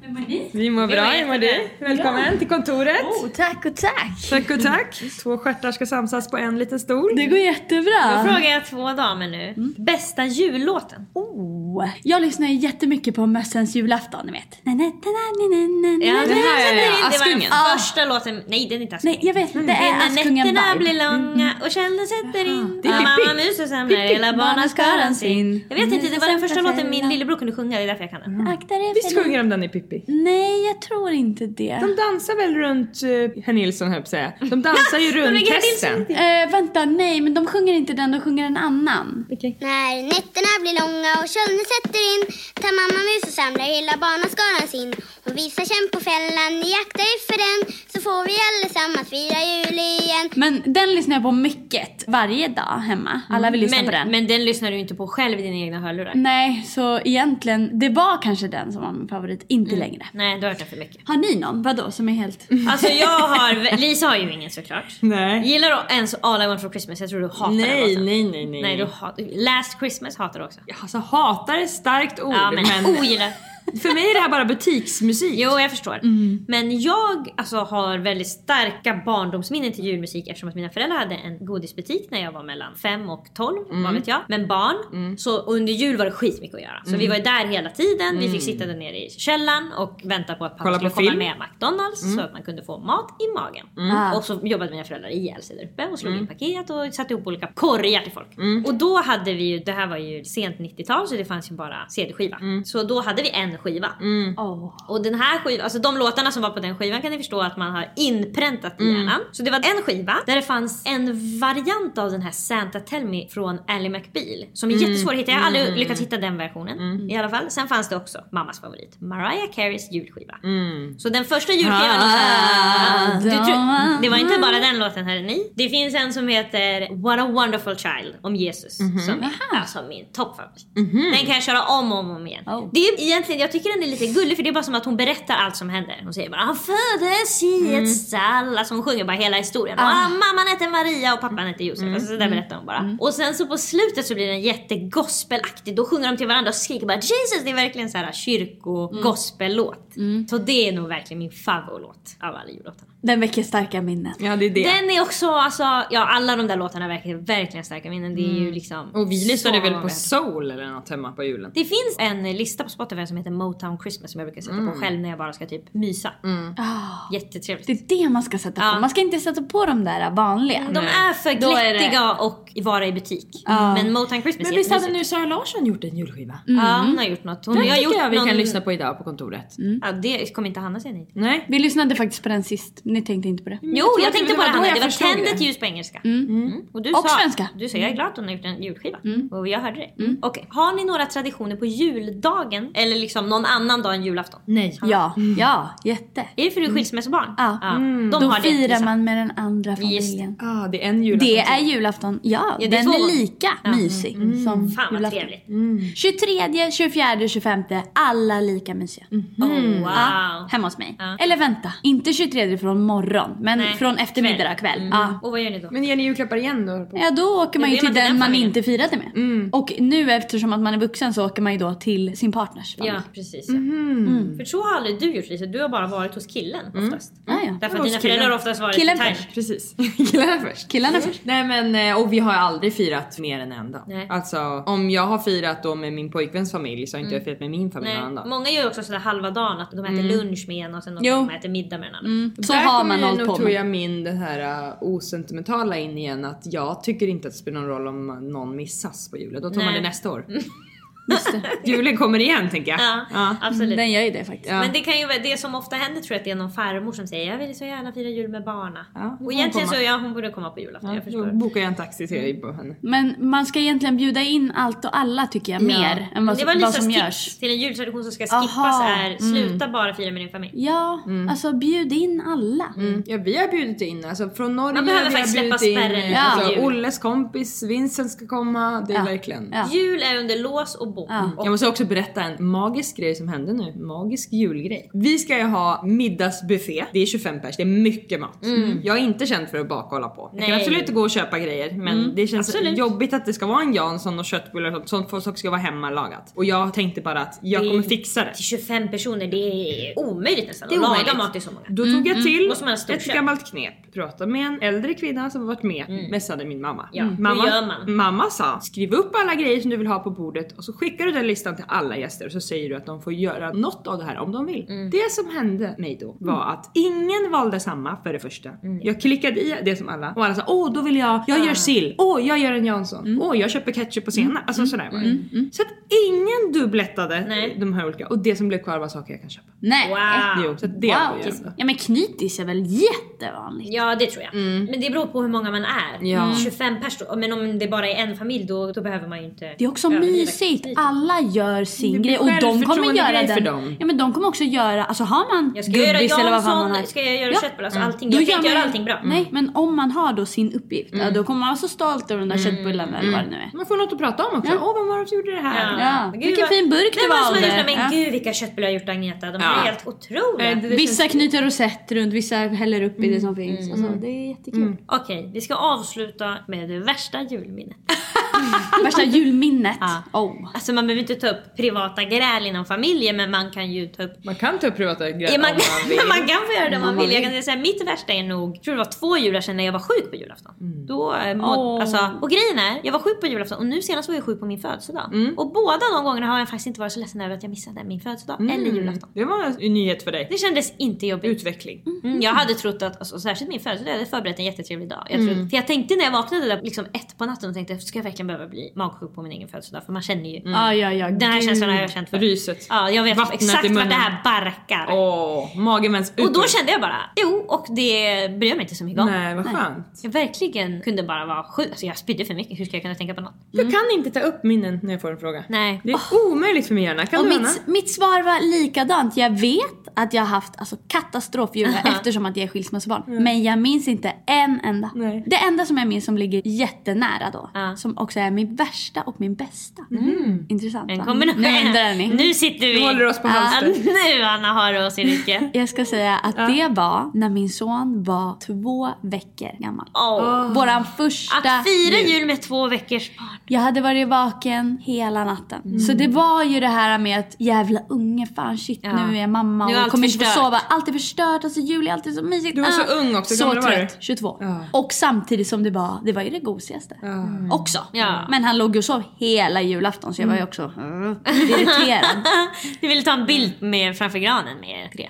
S5: Vi mår bra,
S2: mår
S5: hur mår du?
S2: jättebra. Oh.
S5: Välkommen till kontoret!
S2: tack och tack!
S3: Tack och
S2: Mm.
S3: tack. Två stjärtar ska samsas på en liten stol.
S6: Det går
S2: Då
S6: jättebra.
S2: frågar jag två damer nu.
S6: Mm.
S2: Bästa jullåten?
S6: Oh. Jag lyssnar ju jättemycket på Mössens julafton, ni vet. Na, na, na, na, na, na, na.
S2: Ja, den eh,
S5: här är
S2: det, var
S5: Askungen.
S2: den första låten. Nej, den är inte
S6: Nej,
S2: Askungen. Mm.
S6: jag vet. Det är
S2: När
S6: Askungen Mm,
S2: nätterna blir
S6: Vibe.
S2: långa och källan sätter in Det är Mamma musen samlar
S6: Pippi.
S2: hela barnaskaran sin
S6: Mm.
S2: Jag vet inte, det var den första
S6: Mm.
S2: låten min lillebror kunde sjunga, det är därför jag kan den.
S6: Akta dig
S3: Visst
S6: för-
S3: sjunger de den i Pippi?
S6: Nej, jag tror inte det.
S3: De dansar väl runt uh, herr Nilsson höll jag på att säga. De dansar ju
S2: lägger
S3: runt
S2: herr
S3: hästen.
S6: Eh, vänta, nej, men de sjunger inte den, de sjunger en annan.
S7: När nätterna blir långa och kölden sätter in tar mamma mus och samlar hela barnaskaran sin. Hon visar känn på fällan, ni akta er för den så får vi allesammans fira jul igen.
S6: Men den lyssnar jag på mycket, varje dag hemma. Alla vill lyssna på den. Mm.
S2: Men, men den lyssnar du inte på själv i dina egna hörlurar.
S6: Nej, så egentligen, det var kanske den som var min favorit,
S2: Mm.
S6: inte längre.
S2: Nej, du har hört den för mycket.
S6: Har ni någon, vadå, som är helt... Ah,
S2: Alltså jag har, Lisa har ju ingen såklart.
S3: Nej.
S2: Gillar du ens All I Want For Christmas? Jag tror du hatar den
S3: Nej,
S2: låten.
S3: nej, nej, alltså. nej.
S2: Nej, du hat, Last Christmas hatar du också.
S3: Alltså hatar är ett starkt ord
S2: Ja
S3: men,
S2: men ogillar.
S3: för mig är det här bara butiksmusik.
S2: Jo, jag förstår. Men jag alltså, har väldigt starka barndomsminnen till julmusik eftersom att mina föräldrar hade en godisbutik när jag var mellan 5 och 12,
S3: Mm.
S2: vad vet jag. Men barn, så under jul var det skitmycket att göra. Så
S3: Mm.
S2: vi var ju där hela tiden, vi fick sitta där nere i källaren och vänta på att pappa
S3: Kolla
S2: skulle
S3: på
S2: komma
S3: film.
S2: med McDonalds så att man kunde få mat i magen. Och så jobbade mina föräldrar ihjäl sig där uppe och slog in paket och satte ihop olika korgar till folk. Och då hade vi ju, det här var ju sent 90-tal så det fanns ju bara CD-skiva. Så då hade vi en skiva. Och den här skivan, alltså de låtarna som var på den skivan kan ni förstå att man har inpräntat i hjärnan. Så det var en skiva där det fanns en variant av den här Santa Tell Me från Ally McBeal. Som är jättesvår att hitta, jag har aldrig lyckats hitta den versionen i alla fall. Sen fanns det också mammas favorit, Mariah Careys julskiva. Så den första julskivan... Ah, du tror- det var inte bara den låten hörde ni. Det finns en som heter What a wonderful child om Jesus. Som är alltså min toppfavorit. Den kan jag köra om och om, och om igen. Det är egentligen, jag tycker den är lite gullig för det är bara som att hon berättar allt som händer. Hon säger bara han föddes i ett stall. Alltså hon sjunger bara hela historien. Och, ah, mamman heter Maria och pappan heter Josef. Alltså, så där berättar hon bara. Och sen så på slutet så blir den jättegospelaktig. Då sjunger de till varandra och skriker bara Jesus. Det är verkligen så här kyrko-gospellåt. Så det är nog verkligen min favoritlåt av alla jullåtarna.
S6: Den väcker starka minnen.
S3: Ja det är det.
S2: Den är också, alltså, ja alla de där låtarna verkar verkligen starka minnen. Det är ju liksom...
S3: Mm. Och vi lyssnade
S2: så
S3: väl
S2: många
S3: på soul eller något hemma på julen.
S2: det finns en lista på Spotify som heter Motown Christmas som jag brukar
S3: Mm.
S2: sätta på själv när jag bara ska typ mysa.
S6: Ah,
S2: Jättetrevligt.
S6: det är det man ska sätta på. Man ska inte sätta på de de där vanliga.
S2: Mm, De är för
S6: Då är det-
S2: glättiga och vara i butik.
S6: Ja.
S2: Men Motown Christmas
S3: Men
S2: är
S3: visst hade
S2: jättemysigt.
S3: nu Sara Larsson gjort en julskiva?
S2: Ja, hon har gjort något. Hon
S3: Mm. Den
S2: har
S3: tycker
S2: gjort
S3: jag vi
S2: någon...
S3: kan lyssna på idag på kontoret.
S2: Ja, det kommer inte Hanna säga nej till.
S3: Nej?
S6: Vi lyssnade faktiskt på den sist. Ni tänkte inte på det.
S2: Jo,
S3: tror
S2: jag,
S3: att
S2: tänkte
S3: det
S2: på
S3: var
S2: det
S3: då
S2: Hanna.
S3: jag
S2: Det var
S3: förstod
S2: tänd
S3: det.
S2: ett ljus på engelska. Mm. Och, du
S6: Och
S2: sa,
S6: svenska. Mm.
S2: Du sa jag är glad att hon har gjort en julskiva. Och jag hörde det. Och har ni några traditioner på juldagen? Eller liksom någon annan dag än julafton?
S3: Nej.
S6: Ja, ja, jätte.
S2: Är det för du är skilsmässobarn?
S6: Mm. Ja.
S2: De
S6: Då
S2: har det.
S6: firar
S2: liksom.
S6: man med den andra
S2: Just det.
S6: familjen.
S3: Ah, det är en julafton.
S6: Det är julafton. Ja,
S2: Ja, det är
S6: den
S2: så.
S6: är lika mysig som
S2: Fan vad
S6: julafton.
S2: trevligt.
S6: 23, 24, 25. Alla lika mysiga.
S2: Oh, wow.
S6: Ja, hemma hos mig. Eller vänta, inte 23 från morgon, men
S2: Nej,
S6: från eftermiddag, kväll. Ja.
S2: Mm. Och vad gör ni då?
S3: Men ger ni julklappar igen då?
S6: Ja då åker man
S2: Ja,
S6: ju
S2: det är
S6: till
S2: man Mm. till
S6: den
S2: den
S6: man
S2: familjen.
S6: inte firade med. Och nu eftersom att man är vuxen så åker man ju då till sin partners familj.
S2: Ja, precis. Ja.
S6: Mm.
S2: För så har aldrig du gjort Lisa. Du har bara varit hos killen oftast.
S6: Ah, ja.
S2: Därför att dina föräldrar har oftast varit
S6: Killen
S2: i Thailand.
S6: först.
S3: Precis. Killarna först.
S6: Killarna först.
S3: Nej men eh, och vi har ju aldrig firat mer än en dag.
S2: Nej.
S3: Alltså om jag har firat då med min pojkväns familj så har inte jag firat med min familj någon annan
S2: Nej.
S3: dag.
S2: Många gör ju också sådär halva dagen, att de äter lunch med en och sen
S6: Jo.
S2: de äter middag med en annan.
S6: Mm. Så
S3: Där
S6: har
S3: kommer
S6: man
S3: ju
S6: hållit
S3: nog,
S6: på
S3: tror
S6: med.
S3: jag min den här uh, osentimentala in igen att jag tycker inte att det spelar någon roll om uh, någon missas på julen. Då tar man
S2: Nej.
S3: det nästa år. julen kommer igen tänker jag.
S2: Ja,
S6: Mm.
S2: absolut.
S6: Den gör ju det faktiskt.
S2: Men det, kan ju, vara- det som ofta händer tror jag att det är någon farmor som säger jag vill så gärna fira jul med barna.
S3: Ja, hon
S2: och egentligen
S3: kommer.
S2: så ja, hon borde komma på julafton, jag
S3: Då
S2: förstår. Mm.
S3: bokar jag en taxi till dig på henne.
S6: Men man ska egentligen bjuda in allt och alla tycker jag mer än vad,
S2: Det var
S6: vad
S2: Lisas
S6: som
S2: tips
S6: görs.
S2: till en jultradition som ska
S6: Aha, mm.
S2: skippas är sluta bara fira med din familj.
S6: Ja,
S2: Mm.
S6: alltså bjud in alla.
S3: Ja vi har bjudit in, alltså från Norge
S2: Man behöver
S3: vi har
S2: faktiskt släppa
S3: bjudit in,
S2: spärren
S3: eh,
S6: lite
S3: alltså,
S2: till jul.
S3: Olles kompis Vincent ska komma, det är verkligen.
S6: Ja.
S2: Jul är under lås och bom. Och
S3: Jag måste också berätta en magisk grej som hände nu. Magisk julgrej. Vi ska ju ha middagsbuffé. Det är 25 pers, det är mycket mat. Jag är inte känd för att baka och hålla på. Jag kan
S2: Mm. Nej. Mm.
S3: absolut gå och köpa grejer men det känns jobbigt att det ska vara en Jansson och köttbullar och sånt. Sånt folk ska vara hemmalagat. Och jag tänkte bara att jag
S2: Det-
S3: kommer fixa det.
S2: till 25 personer, det är omöjligt nästan
S3: Det är
S2: att laga
S3: omöjligt.
S2: mat till så många.
S3: Då tog jag till
S2: Måste man ha stort
S3: ett
S2: kök.
S3: gammalt knep. Pratade med en äldre kvinna som varit med, messade min mamma.
S2: Mm. Ja, hur
S3: mamma,
S2: gör man?
S3: mamma sa, skriv upp alla grejer som du vill ha på bordet och så skickar du den listan till alla gäster och så säger du att de får göra något av det här om de vill.
S2: Mm.
S3: Det som hände mig då var att ingen valde samma för det första.
S2: Mm.
S3: Jag klickade i det som alla och alla sa, åh då vill jag, jag
S2: Ah.
S3: gör sill, åh jag gör en Jansson,
S2: Mm.
S3: åh jag köper ketchup och senap. Alltså sådär var det. Så att ingen dubblettade
S2: Nej.
S3: de här olika och det som blev kvar var saker jag kan köpa.
S6: Nej.
S2: Wow.
S3: Jo, så att det var ju ändå.
S6: Ja men knytis är väl jättevanligt?
S2: Ja det tror jag.
S6: Mm.
S2: Men det beror på hur många man är.
S3: Ja. Mm.
S2: 25 personer. Men om det bara är en familj då, då behöver man ju inte...
S6: Det är också
S2: överdriva
S6: mysigt.
S2: kritiken.
S6: Alla gör
S3: Det blir
S6: sin grej och de kommer
S3: självförtroendegrej
S6: göra
S3: för
S6: den.
S3: dem.
S6: Ja men de kommer också göra, alltså har man
S2: Jag ska göra
S6: gubbis eller vad fan man har.
S2: Jansson, ska jag göra köttbullar, alltså allting.
S6: Då
S2: Jag kan
S6: gör
S2: inte
S6: man-
S2: göra allting bra. Mm.
S6: Nej men om man har då sin uppgift, ja, då kommer man vara så stolt över de där köttbullarna eller vad det nu är.
S3: Man får något att prata om också. Åh vad var det som gjorde det här?
S6: Ja,
S2: Men
S6: vilken fin burk
S2: men
S6: det
S2: vad
S6: var,
S2: som har gjort
S6: Alder.
S2: det. Men
S6: Ja.
S2: gud vilka köttbullar jag har gjort Agneta. De
S3: Ja.
S2: är helt otroliga.
S3: Eh, det- det
S6: Vissa
S3: känns-
S6: knyter rosett runt, vissa häller upp i det
S2: Mm.
S6: som finns. Alltså, det är jättekul.
S2: Okej, vi ska avsluta med det värsta julminnet.
S6: Värsta julminnet.
S2: Ja.
S6: Oh.
S2: Alltså man behöver inte ta upp privata gräl inom familjen men man kan ju ta upp
S3: Man kan ta upp privata grejer
S2: Ja, man,
S3: om man vill.
S2: man kan få göra det om man vill. Jag kan säga, mitt värsta är nog, jag tror det var två jular sedan när jag var sjuk på julafton. Då, eh, må, alltså, och grejen är, jag var sjuk på julafton och nu senast var jag sjuk på min födelsedag. Och båda de gångerna har jag faktiskt inte varit så ledsen över att jag missade min födelsedag
S3: Mm.
S2: eller julafton.
S3: Det var en nyhet för dig.
S2: Det kändes inte jobbigt.
S3: Utveckling.
S2: Mm, jag hade trott att, alltså, särskilt min födelsedag, jag hade förberett en jättetrevlig dag. Jag,
S3: Mm.
S2: trodde, för jag tänkte när jag vaknade där liksom ett på natten och tänkte, ska jag verkligen behöva bli magsjuk på min egen födelsedag? För man känner ju,
S6: Ja, ja, ja.
S2: den här
S6: gud.
S2: känslan har jag känt förut.
S3: Mm. Ah, Ryset.
S2: Ja, jag vet
S3: Vattnet i
S2: exakt vart
S3: munnen.
S2: det här barkar.
S3: Åh, magen vänds ut.
S2: Och då kände jag bara, jo och det bryr jag mig inte så mycket om.
S3: Nej vad skönt.
S2: Jag verkligen kunde bara vara sjuk. Alltså jag spydde för mycket, hur ska jag kunna tänka på något?
S3: Jag kan inte ta upp minnen när jag får en fråga.
S2: Nej.
S3: Det är omöjligt för min hjärna. Kan
S6: Och
S3: du Anna?
S6: mitt, mitt svar var likadant. Jag vet att jag har haft alltså, katastrofjular eftersom att jag är skilsmässobarn. Men jag minns inte en enda.
S3: Nej.
S6: Det enda som jag minns som ligger jättenära då,
S2: Ja.
S6: som också är min värsta och min bästa. Intressant
S2: En
S6: va?
S2: kombination.
S6: Nu ändrar ni.
S2: Nu sitter vi.
S3: Du håller oss på
S2: ja,
S3: halster.
S2: Nu Anna har du oss i ryggen.
S6: Jag ska säga att det var när min son var två veckor gammal.
S2: Åh.
S6: Våran första
S2: Att fira
S6: jul.
S2: jul med två veckors barn.
S6: Jag hade varit vaken hela natten.
S3: Mm.
S6: Så det var ju det här med att jävla unge, fan shit
S2: Ja.
S6: nu är jag mamma
S2: Nu är
S6: och
S2: allt
S6: kommer inte få
S2: förstört.
S6: sova. Allt är förstört, alltså jul är alltid så mysigt.
S3: Du var så
S6: Ah.
S3: ung också, hur
S6: Så
S3: gammal var du?
S6: trött, 22.
S3: Ja. Mm.
S6: Och samtidigt som det var, det var ju det gosigaste. Också.
S2: Ja, Ja.
S6: Men han låg ju och sov hela julafton så jag var ju också mm, irriterad.
S2: Du ville ta en bild med framför granen med er tre.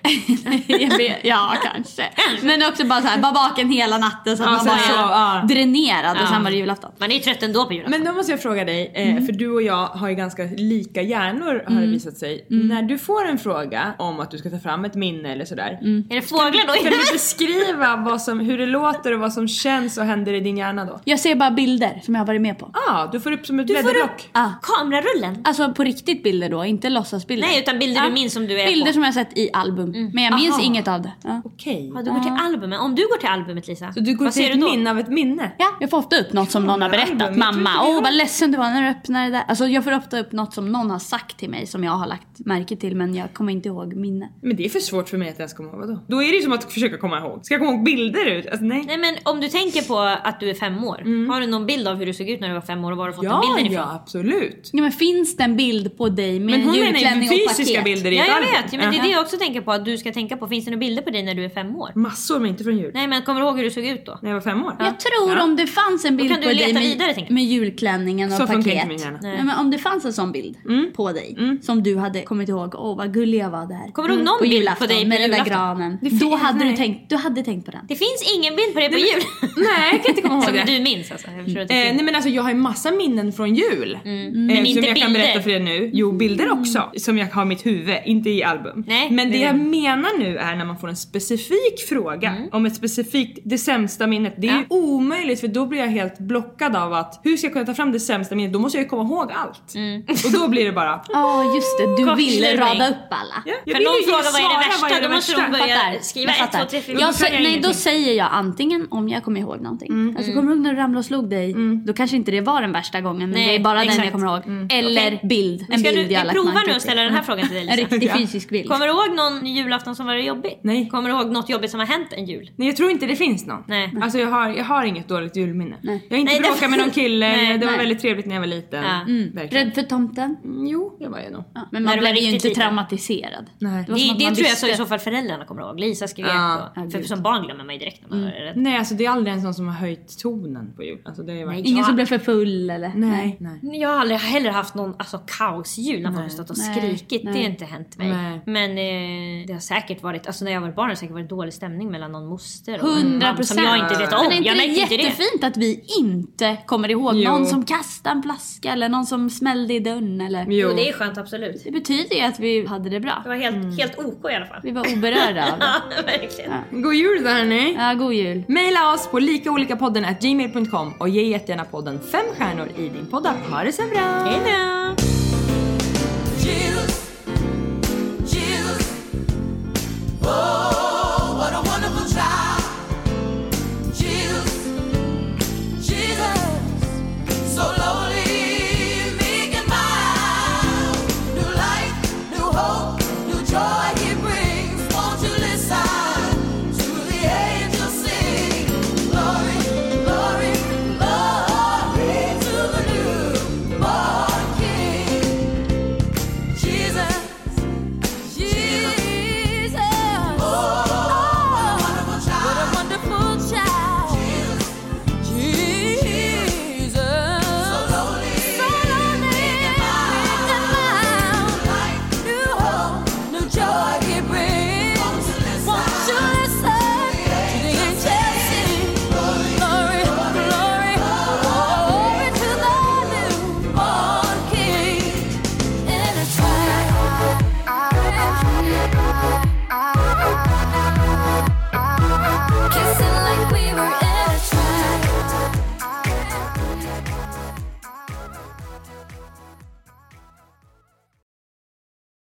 S6: Jag vet- ja, kanske. Men också bara så här, bara vaken hela natten så att man
S3: sen
S6: var
S3: så,
S6: så
S3: ja.
S6: dränerad
S2: Ja.
S6: och sen var det julafton.
S2: Man är ju trött ändå på julafton.
S3: Men då måste jag fråga dig, eh, för du och jag har ju ganska lika hjärnor har det visat sig. När du får en fråga om att du ska ta fram ett minne eller sådär.
S2: Är det fåglar då?
S3: Kan du beskriva vad som, hur det låter och vad som känns och händer i din hjärna då?
S6: Jag ser bara bilder som jag har varit med på.
S3: Ja, ah, du får upp som ett
S2: får upp-
S3: blädderblock.
S6: Ah.
S2: Kamerarullen?
S6: Alltså på riktigt bilder då, inte låtsasbilder.
S2: Nej, utan bilder du minns som du är
S6: Bilder
S2: på.
S6: som jag sett i album. Men jag minns
S2: Aha.
S6: inget av det. Ja.
S3: Okej.
S2: Ja, du går till albumet. Om du går till albumet Lisa,
S3: Så du går
S2: vad
S3: till
S2: ser
S3: ett
S2: du då?
S3: minne av ett minne?
S6: Ja, jag får ofta upp något som någon har
S3: album.
S6: berättat.
S3: Jag tror
S6: Mamma,
S3: inte vi
S6: åh
S3: har-
S6: vad ledsen du var när du öppnade det där. Alltså jag får ofta upp något som någon har sagt till mig som jag har lagt märke till men jag kommer inte ihåg minne.
S3: Men det är för svårt för mig att ens komma ihåg. Vadå? Då är det ju som att försöka komma ihåg. Ska jag komma ihåg bilder ut? Alltså nej.
S2: Nej men om du tänker på att du är fem år. Har du någon bild av hur du såg ut när du var fem år och var du fått den
S3: Mm. Ja,
S2: bilden ifrån?
S3: ja absolut.
S6: Ja, men finns det en bild på dig med
S3: Men
S6: en
S3: hon menar
S6: julklänning
S3: ju
S6: och paket?
S3: fysiska bilder i
S2: Ja
S3: ett
S2: jag
S3: album.
S2: vet, Ja, men det är
S3: Aha.
S2: det jag också tänker på att du ska tänka på. Finns det några bilder på dig när du är fem år?
S3: Massor men inte från jul.
S2: Nej men kommer du ihåg hur du såg ut då?
S3: När jag var fem år.
S6: Jag tror
S3: Ja.
S6: om det fanns en bild
S2: kan
S6: på
S2: du leta
S6: dig med,
S2: vidare, tänker jag.
S6: med julklänningen och
S3: Så funkar
S6: paket.
S3: inte min hjärna. Mm.
S6: Nej. men om det fanns en sån bild på dig som du hade kommit ihåg, åh vad gullig jag var där.
S2: Kommer du ihåg någon
S6: på
S2: bild på
S6: julafton
S2: dig på
S6: med den där
S2: julafton?
S6: granen. Då hade du, tänkt, du hade tänkt på den.
S2: Det finns ingen bild på dig på jul.
S3: Nej jag kan inte komma ihåg
S2: Som
S3: det.
S2: du minns alltså. Jag förstår att det
S3: Eh,
S2: finns.
S3: nej men alltså jag har ju massa minnen från jul. Eh,
S2: Mm. Men
S3: som
S2: inte
S3: jag kan
S2: bilder. Mm.
S3: berätta för er nu. Jo bilder också. Som jag har i mitt huvud, inte i album.
S2: Nej,
S3: men det
S2: det är
S3: jag
S2: det. Mm.
S3: menar nu är när man får en specifik fråga om ett specifikt, det sämsta minnet. Det är ju omöjligt för då blir jag helt blockad av att hur ska jag kunna ta fram det sämsta minnet? Då måste jag ju komma ihåg allt.
S2: Mm.
S3: Och då blir det bara
S6: Ja just det, du ville
S2: Kortslutning.
S6: rada upp alla.
S3: Ja, jag
S2: För
S3: vill
S2: någon
S3: ju
S2: frågar vad är
S3: svara,
S2: det värsta,
S3: vad är det
S2: då måste
S3: värsta?
S2: de börja skriva 1, 2, 3, 4.
S6: jag
S3: säger
S6: sä- nej, då
S3: ingenting.
S6: säger jag antingen om jag kommer ihåg någonting.
S3: Mm.
S2: Mm.
S6: Alltså, kommer du ihåg när du ramlade och slog dig? Då kanske inte det var den värsta gången, men
S2: Nej,
S6: det är bara den
S2: exakt. Mm.
S6: jag kommer ihåg. Eller bild. En
S2: Ska
S6: bild
S2: du,
S6: jag
S2: vi
S6: har lagt
S2: provar
S6: märke
S2: nu
S6: till.
S2: att ställa den här frågan till dig
S6: Mm. En
S2: Lisa.
S6: riktig fysisk bild.
S2: Kommer du ihåg någon julafton som var jobbig?
S3: Nej.
S2: Kommer du ihåg något jobbigt som har hänt en jul?
S3: Nej jag tror inte det finns någon.
S2: Nej.
S3: Alltså jag har, jag har inget dåligt julminne.
S6: Nej.
S3: Jag har inte
S2: Nej, det-
S3: bråkat med någon kille,
S2: Nej,
S3: det var
S6: nej.
S3: väldigt trevligt när jag var liten.
S2: Ja.
S3: Verkligen.
S6: Rädd för tomten?
S3: Mm, Jo, det var jag nog.
S6: Ja, men
S2: När
S6: man
S2: du var
S6: blev ju
S2: riktigt
S6: inte
S2: liten.
S6: traumatiserad.
S3: Nej.
S6: var som
S2: Det,
S6: att
S2: det
S6: man
S2: tror jag
S6: visste.
S2: så i så fall föräldrarna kommer ihåg. Lisa skrev
S3: Ja.
S2: ja. För
S6: gud. Mm.
S2: som barn glömmer man ju direkt när man är rädd.
S3: Nej alltså det är aldrig ens någon som har höjt tonen på jul. Alltså, det är verkligen...
S6: Ingen
S2: Ja.
S6: som blev för full eller?
S3: Nej. Nej.
S2: Jag har aldrig heller haft någon alltså, kaosjul när man har stått och
S6: Nej.
S2: skrikit. Det
S6: Nej.
S2: har inte hänt mig.
S3: Nej.
S2: Men eh, det har säkert varit, alltså när jag var barn har det säkert varit dålig stämning mellan någon moster och en
S6: Hundra
S2: man
S6: procent.
S2: som jag inte vet om.
S6: Men är inte
S2: jag
S6: det
S2: märkte inte det.
S6: jättefint att vi inte kommer ihåg
S3: Jo.
S6: någon som kastade en flaska eller någon som smällde i dörren eller?
S2: Jo.
S3: Jo.
S2: det är skönt absolut.
S6: Det betyder ju att vi hade det bra.
S2: Det var helt,
S6: Mm.
S2: helt OK i alla fall.
S6: Vi var oberörda av det.
S2: Ja, verkligen.
S3: God jul där hörni!
S6: Ja, god jul.
S3: Maila oss på likaolikapodden at gmail.com och ge jättegärna podden fem stjärnor i din podd. Ha det så bra!
S2: Hej då!